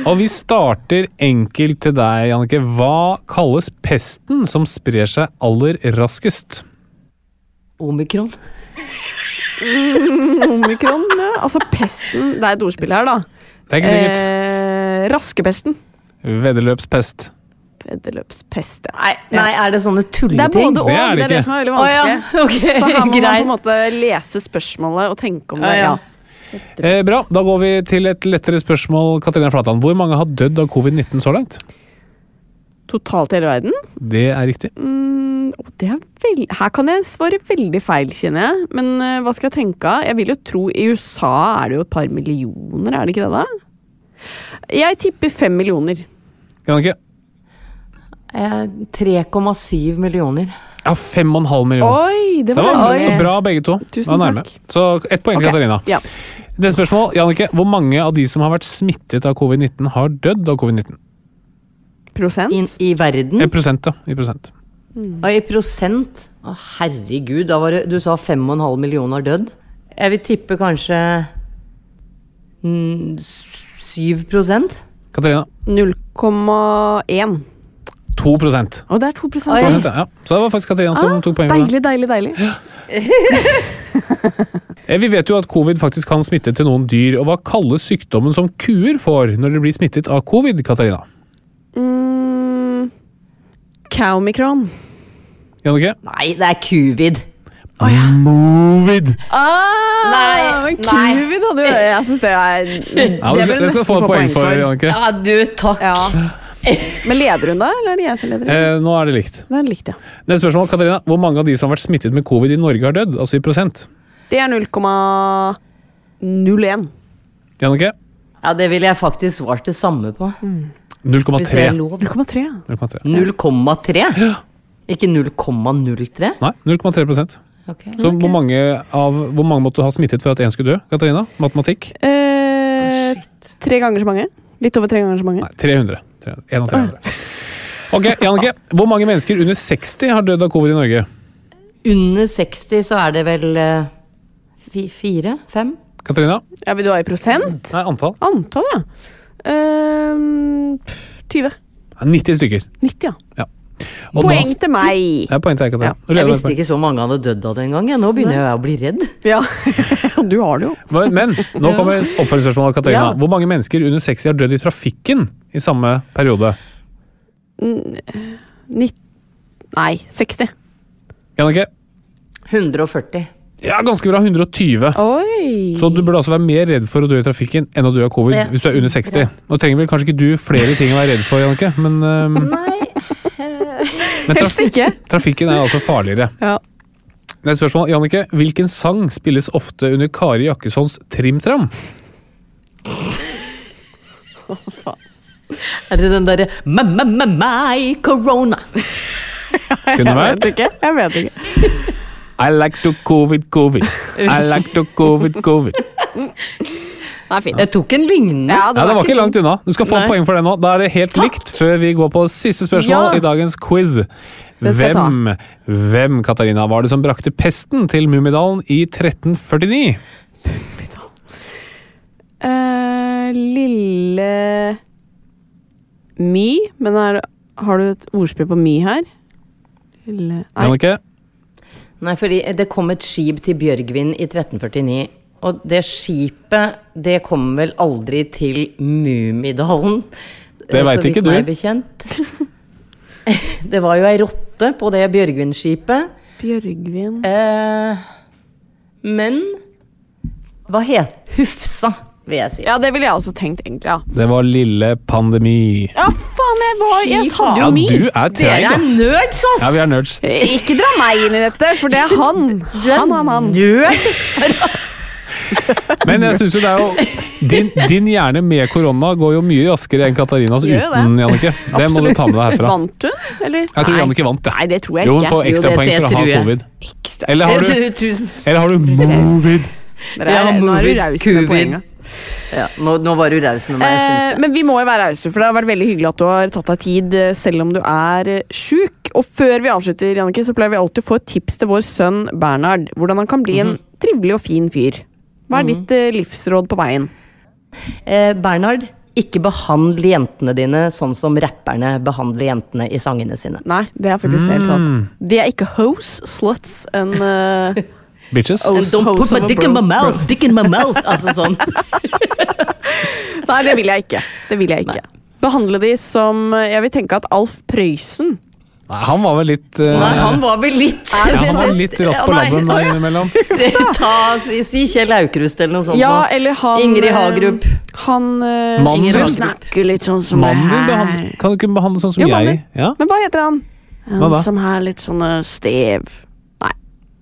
Speaker 3: Og vi starter enkelt til deg, Jannicke. Hva kalles pesten som sprer seg aller raskest?
Speaker 4: Omikron.
Speaker 2: Mm, Omikron, ja. Altså pesten Det er et ordspill her, da.
Speaker 3: Det er ikke sikkert.
Speaker 2: Eh, raskepesten. Eh.
Speaker 3: Veddeløpspest.
Speaker 2: Veddeløpspest, ja.
Speaker 4: Nei, nei, er det sånne
Speaker 2: Det er
Speaker 4: tulleting?
Speaker 2: både og, det er det, som er veldig vanskelig.
Speaker 4: Å, ja. Ok,
Speaker 2: Så her må man på
Speaker 4: greit.
Speaker 2: en måte lese spørsmålet og tenke om det.
Speaker 4: Ja, ja.
Speaker 3: Eh, bra, da går vi til et lettere spørsmål. Katarina Flatland, hvor mange har dødd av covid-19 så langt?
Speaker 2: Totalt i hele verden.
Speaker 3: Det er riktig.
Speaker 2: Mm, å, det er vel... Her kan jeg svare veldig feil, kjenner jeg. Men eh, hva skal jeg tenke av? Jeg vil jo tro I USA er det jo et par millioner, er det ikke det, da? Jeg tipper fem millioner.
Speaker 3: Jannicke?
Speaker 4: Eh, 3,7 millioner.
Speaker 3: Ja, fem og en halv million.
Speaker 4: Oi, det var
Speaker 3: var
Speaker 4: nærmere.
Speaker 3: bra begge to. Det var
Speaker 4: Tusen
Speaker 3: nærme.
Speaker 4: takk.
Speaker 3: Så ett poeng til Katarina.
Speaker 2: Ja.
Speaker 3: Det er spørsmål, Jannicke, hvor mange av de som har vært smittet av covid-19 har dødd av covid-19?
Speaker 2: Prosent?
Speaker 4: I, verden?
Speaker 3: Eh, prosent, ja. I prosent.
Speaker 4: Og i prosent Å, herregud, da var det Du sa 5,5 millioner har dødd. Jeg vil tippe kanskje mm, 7
Speaker 3: Katarina,
Speaker 2: 0,1.
Speaker 3: 2 prosent.
Speaker 2: Og det er 2
Speaker 3: Så, ja. Så det var faktisk Katarina som tok poeng. for det.
Speaker 2: Ah, Deilig, deilig, deilig.
Speaker 3: Eh, Vi vet jo at covid faktisk kan smitte til noen dyr, og hva kalles sykdommen som kuer får når de blir smittet av covid, Katarina?
Speaker 2: Mm, Kaomikron.
Speaker 3: Jannicke?
Speaker 4: Nei, det er kuvid.
Speaker 3: Movid!
Speaker 2: Ah,
Speaker 4: Nei,
Speaker 2: men Kuvin hadde jo Jeg syns det er
Speaker 3: Ja, du skal-
Speaker 2: bør
Speaker 3: det skal
Speaker 2: nesten
Speaker 3: du få en poeng for, Jannicke.
Speaker 4: Ja, du, takk.
Speaker 2: Men leder hun da, eller er det jeg som leder?
Speaker 3: Eh, nå er det likt.
Speaker 2: Det er likt, ja.
Speaker 3: Neste spørsmål, Katarina. Hvor mange av de som har vært smittet med covid i Norge, har dødd? Altså i prosent?
Speaker 2: Det er 0,01.
Speaker 3: Jannicke?
Speaker 4: Ja, det ville jeg faktisk svart det samme på. Hvis det er lov.
Speaker 2: 0,3. ja.
Speaker 4: 0,3? Ikke 0,03?
Speaker 3: Nei, 0,3
Speaker 4: Ok.
Speaker 3: Så hvor mange, av, hvor mange måtte du ha smittet for at én skulle dø? Katarina? Matematikk?
Speaker 2: Eh, tre ganger så mange. Litt over tre ganger så mange.
Speaker 3: 300. 300. En av 300. Ok, Jannicke. Hvor mange mennesker under 60 har dødd av covid i Norge?
Speaker 4: Under 60 så er det vel eh, fi- fire? Fem?
Speaker 3: Katarina?
Speaker 2: Ja, Vil du ha i prosent?
Speaker 3: Nei, antall.
Speaker 2: Antall, ja. Ehm, pff, 20.
Speaker 3: 90 stykker.
Speaker 2: 90, ja.
Speaker 3: Og
Speaker 2: Poeng
Speaker 3: nå-
Speaker 2: til meg!
Speaker 3: Det er poeng til deg, Katarina. Du leder
Speaker 4: Jeg
Speaker 3: med
Speaker 4: visste
Speaker 3: poeng.
Speaker 4: ikke så mange hadde dødd av det engang. Jeg. Nå begynner jeg å bli redd.
Speaker 2: Ja, du har det jo.
Speaker 3: Men men, nå kommer oppfølgingsspørsmålet. Katarina.
Speaker 2: Ja.
Speaker 3: Hvor mange mennesker under 60 har dødd i trafikken i samme periode?
Speaker 2: N- nitt- Nei, 60.
Speaker 3: Jannicke?
Speaker 4: 140.
Speaker 3: Ja, ganske bra. 120.
Speaker 2: Oi!
Speaker 3: Så du burde altså være mer redd for å dø i trafikken enn å dø av covid
Speaker 4: Ja.
Speaker 3: hvis du er under 60. Nå trenger vel kanskje ikke du flere ting å være redd for, Jannicke, men, øhm, men traf-
Speaker 2: eh, Helst ikke.
Speaker 3: trafikken er altså farligere.
Speaker 2: Ja.
Speaker 3: Neste spørsmål, Jannicke. Hvilken sang spilles ofte under Kari Jakkessons Trimtram?
Speaker 4: Er det den derre My corona?
Speaker 3: Kunne vært.
Speaker 2: vet ikke. Jeg vet ikke.
Speaker 3: I like to covid, covid. I like to covid, covid.
Speaker 2: Det er fint.
Speaker 4: Jeg tok en lignende.
Speaker 3: Ja, det var ikke langt unna. Du skal få
Speaker 4: Nei.
Speaker 3: poeng for det nå. Da er det helt likt før vi går på siste spørsmål
Speaker 2: Ja.
Speaker 3: i dagens quiz.
Speaker 2: Det skal jeg ta.
Speaker 3: Hvem, hvem Katarina, var det som brakte pesten til Mummidalen i 1349?
Speaker 2: Eh, lille My, men er, har du et ordspill på My her? Lille Nei.
Speaker 3: Jannicke?
Speaker 4: Nei, fordi det kom et skip til Bjørgvin i 1349. Og det skipet, det kom vel aldri til Mummidalen?
Speaker 3: Det
Speaker 4: eh,
Speaker 3: vet
Speaker 4: så vidt
Speaker 3: ikke du.
Speaker 4: meg Bekjent. Det var jo ei rotte på det Bjørgvin-skipet.
Speaker 2: Bjørgvin
Speaker 4: Eh, men hva het Hufsa, vil jeg si.
Speaker 2: Ja, det ville jeg også tenkt, egentlig. Ja,
Speaker 3: Det var lille pandemi.
Speaker 2: ja faen, jeg var Jeg hadde
Speaker 3: Ja,
Speaker 2: jo My!
Speaker 3: du er treig,
Speaker 4: Dere er
Speaker 3: ass.
Speaker 4: nerds, ass!
Speaker 3: Ja, vi er nerds.
Speaker 2: Ikke dra meg inn i dette, for det er han. Han, han, han.
Speaker 4: Nerd!
Speaker 3: Men jeg synes jo det er jo din, din hjerne med korona går jo mye raskere enn Katarinas
Speaker 2: Gjør jo det.
Speaker 3: uten, Jannicke. Det må du ta med deg herfra.
Speaker 2: Vant hun, eller?
Speaker 3: Jeg tror
Speaker 2: Nei.
Speaker 3: Jannicke vant, ja.
Speaker 2: Nei, det tror jeg
Speaker 3: Jo, hun
Speaker 2: ikke.
Speaker 3: får
Speaker 4: Jo,
Speaker 3: ekstra
Speaker 4: det-
Speaker 3: poeng
Speaker 4: det
Speaker 3: for å ha
Speaker 4: tror jeg.
Speaker 3: covid. Eller har du,
Speaker 4: Du, Tusen
Speaker 3: eller har du movid?
Speaker 2: Dere er, nå er du raus med poenget.
Speaker 4: Ja, nå, nå var du raus med meg. Jeg synes
Speaker 2: Eh, men vi må jo være rause, for det har vært veldig hyggelig at du har tatt deg tid, eh, selv om du er eh, sjuk. Og før vi avslutter, Jannicke, så pleier vi alltid å få et tips til vår sønn Bernhard. Hvordan han kan bli
Speaker 4: Mhm.
Speaker 2: en trivelig og fin fyr. Hva er ditt eh, livsråd på veien?
Speaker 4: Eh, Bernhard, ikke behandle jentene dine sånn som rapperne behandler jentene i sangene sine.
Speaker 2: Nei, det er faktisk helt
Speaker 4: Mm.
Speaker 2: sant. De er ikke hoes, sluts and eh,
Speaker 3: Bitches.
Speaker 2: Oh.
Speaker 4: And don't
Speaker 2: House
Speaker 4: put my
Speaker 2: of a
Speaker 4: dick in my
Speaker 2: bro-
Speaker 4: mouth, dick in my mouth! Altså sånn.
Speaker 2: Nei, det vil jeg ikke. Det vil jeg ikke. Behandle de som eh, Jeg vil tenke at Alf Prøysen
Speaker 3: Nei, han var vel litt eh,
Speaker 4: Nei, han var vel litt
Speaker 3: ja, Han var litt rask på
Speaker 4: Nei.
Speaker 3: labben der innimellom.
Speaker 4: Ta, si, si Kjell Aukrust eller noe sånt.
Speaker 2: Ja,
Speaker 4: nå.
Speaker 2: eller han
Speaker 4: Ingrid
Speaker 2: eh,
Speaker 4: Hagerup.
Speaker 2: Han eh,
Speaker 3: Mannen
Speaker 2: som
Speaker 3: din?
Speaker 2: snakker litt sånn som
Speaker 3: Mannen din
Speaker 2: det her.
Speaker 3: behandler, kan du ikke behandle sånn som
Speaker 2: Jo, mannen
Speaker 3: jeg?
Speaker 2: din.
Speaker 3: Ja?
Speaker 2: Men hva heter han?
Speaker 3: Hva
Speaker 2: Han
Speaker 3: da?
Speaker 2: som har litt sånn eh, stev Nei.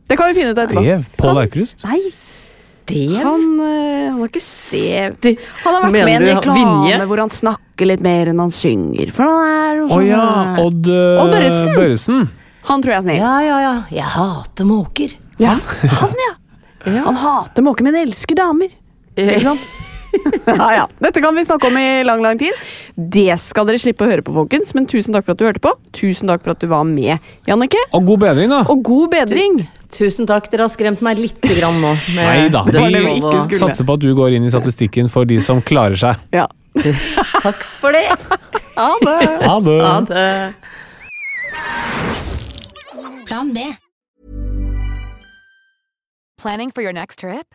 Speaker 2: Det kan vi finne ut etterpå.
Speaker 3: Ev? Pål Aukrust?
Speaker 2: Nei,
Speaker 4: Det
Speaker 2: han, eh, han har ikke stev. Han har vært
Speaker 4: Mener
Speaker 2: med i en
Speaker 4: du
Speaker 2: reklame
Speaker 4: Vinje?
Speaker 2: hvor han snakker litt mer enn han synger. For han er jo
Speaker 3: Å
Speaker 2: sånn
Speaker 3: ja,
Speaker 2: eh,
Speaker 3: Odd, eh,
Speaker 2: Odd Børretzen.
Speaker 3: Børretzen.
Speaker 2: Han tror jeg er snill.
Speaker 4: Ja, ja, ja. Jeg hater måker.
Speaker 2: Ja. Han, ja. Han hater måker, men elsker damer. Ikke sant? ja, ja. Dette kan vi snakke om i lang lang tid. Det skal dere slippe å høre på, folkens. Men tusen takk for at du hørte på. Tusen takk for at du var med, Jannicke.
Speaker 3: Og god bedring, da.
Speaker 2: Og god bedring!
Speaker 4: Tusen takk, dere har skremt meg lite grann nå. med
Speaker 3: Nei da,
Speaker 4: dødsfall
Speaker 3: vi
Speaker 4: og-
Speaker 2: ikke skulle.
Speaker 3: satser på at du går inn i statistikken for de som klarer seg.
Speaker 2: Ja.
Speaker 4: Takk for det.
Speaker 2: Ha det!
Speaker 3: Ha det.
Speaker 4: Ha det.
Speaker 8: Plan B.
Speaker 9: Planning for your next trip?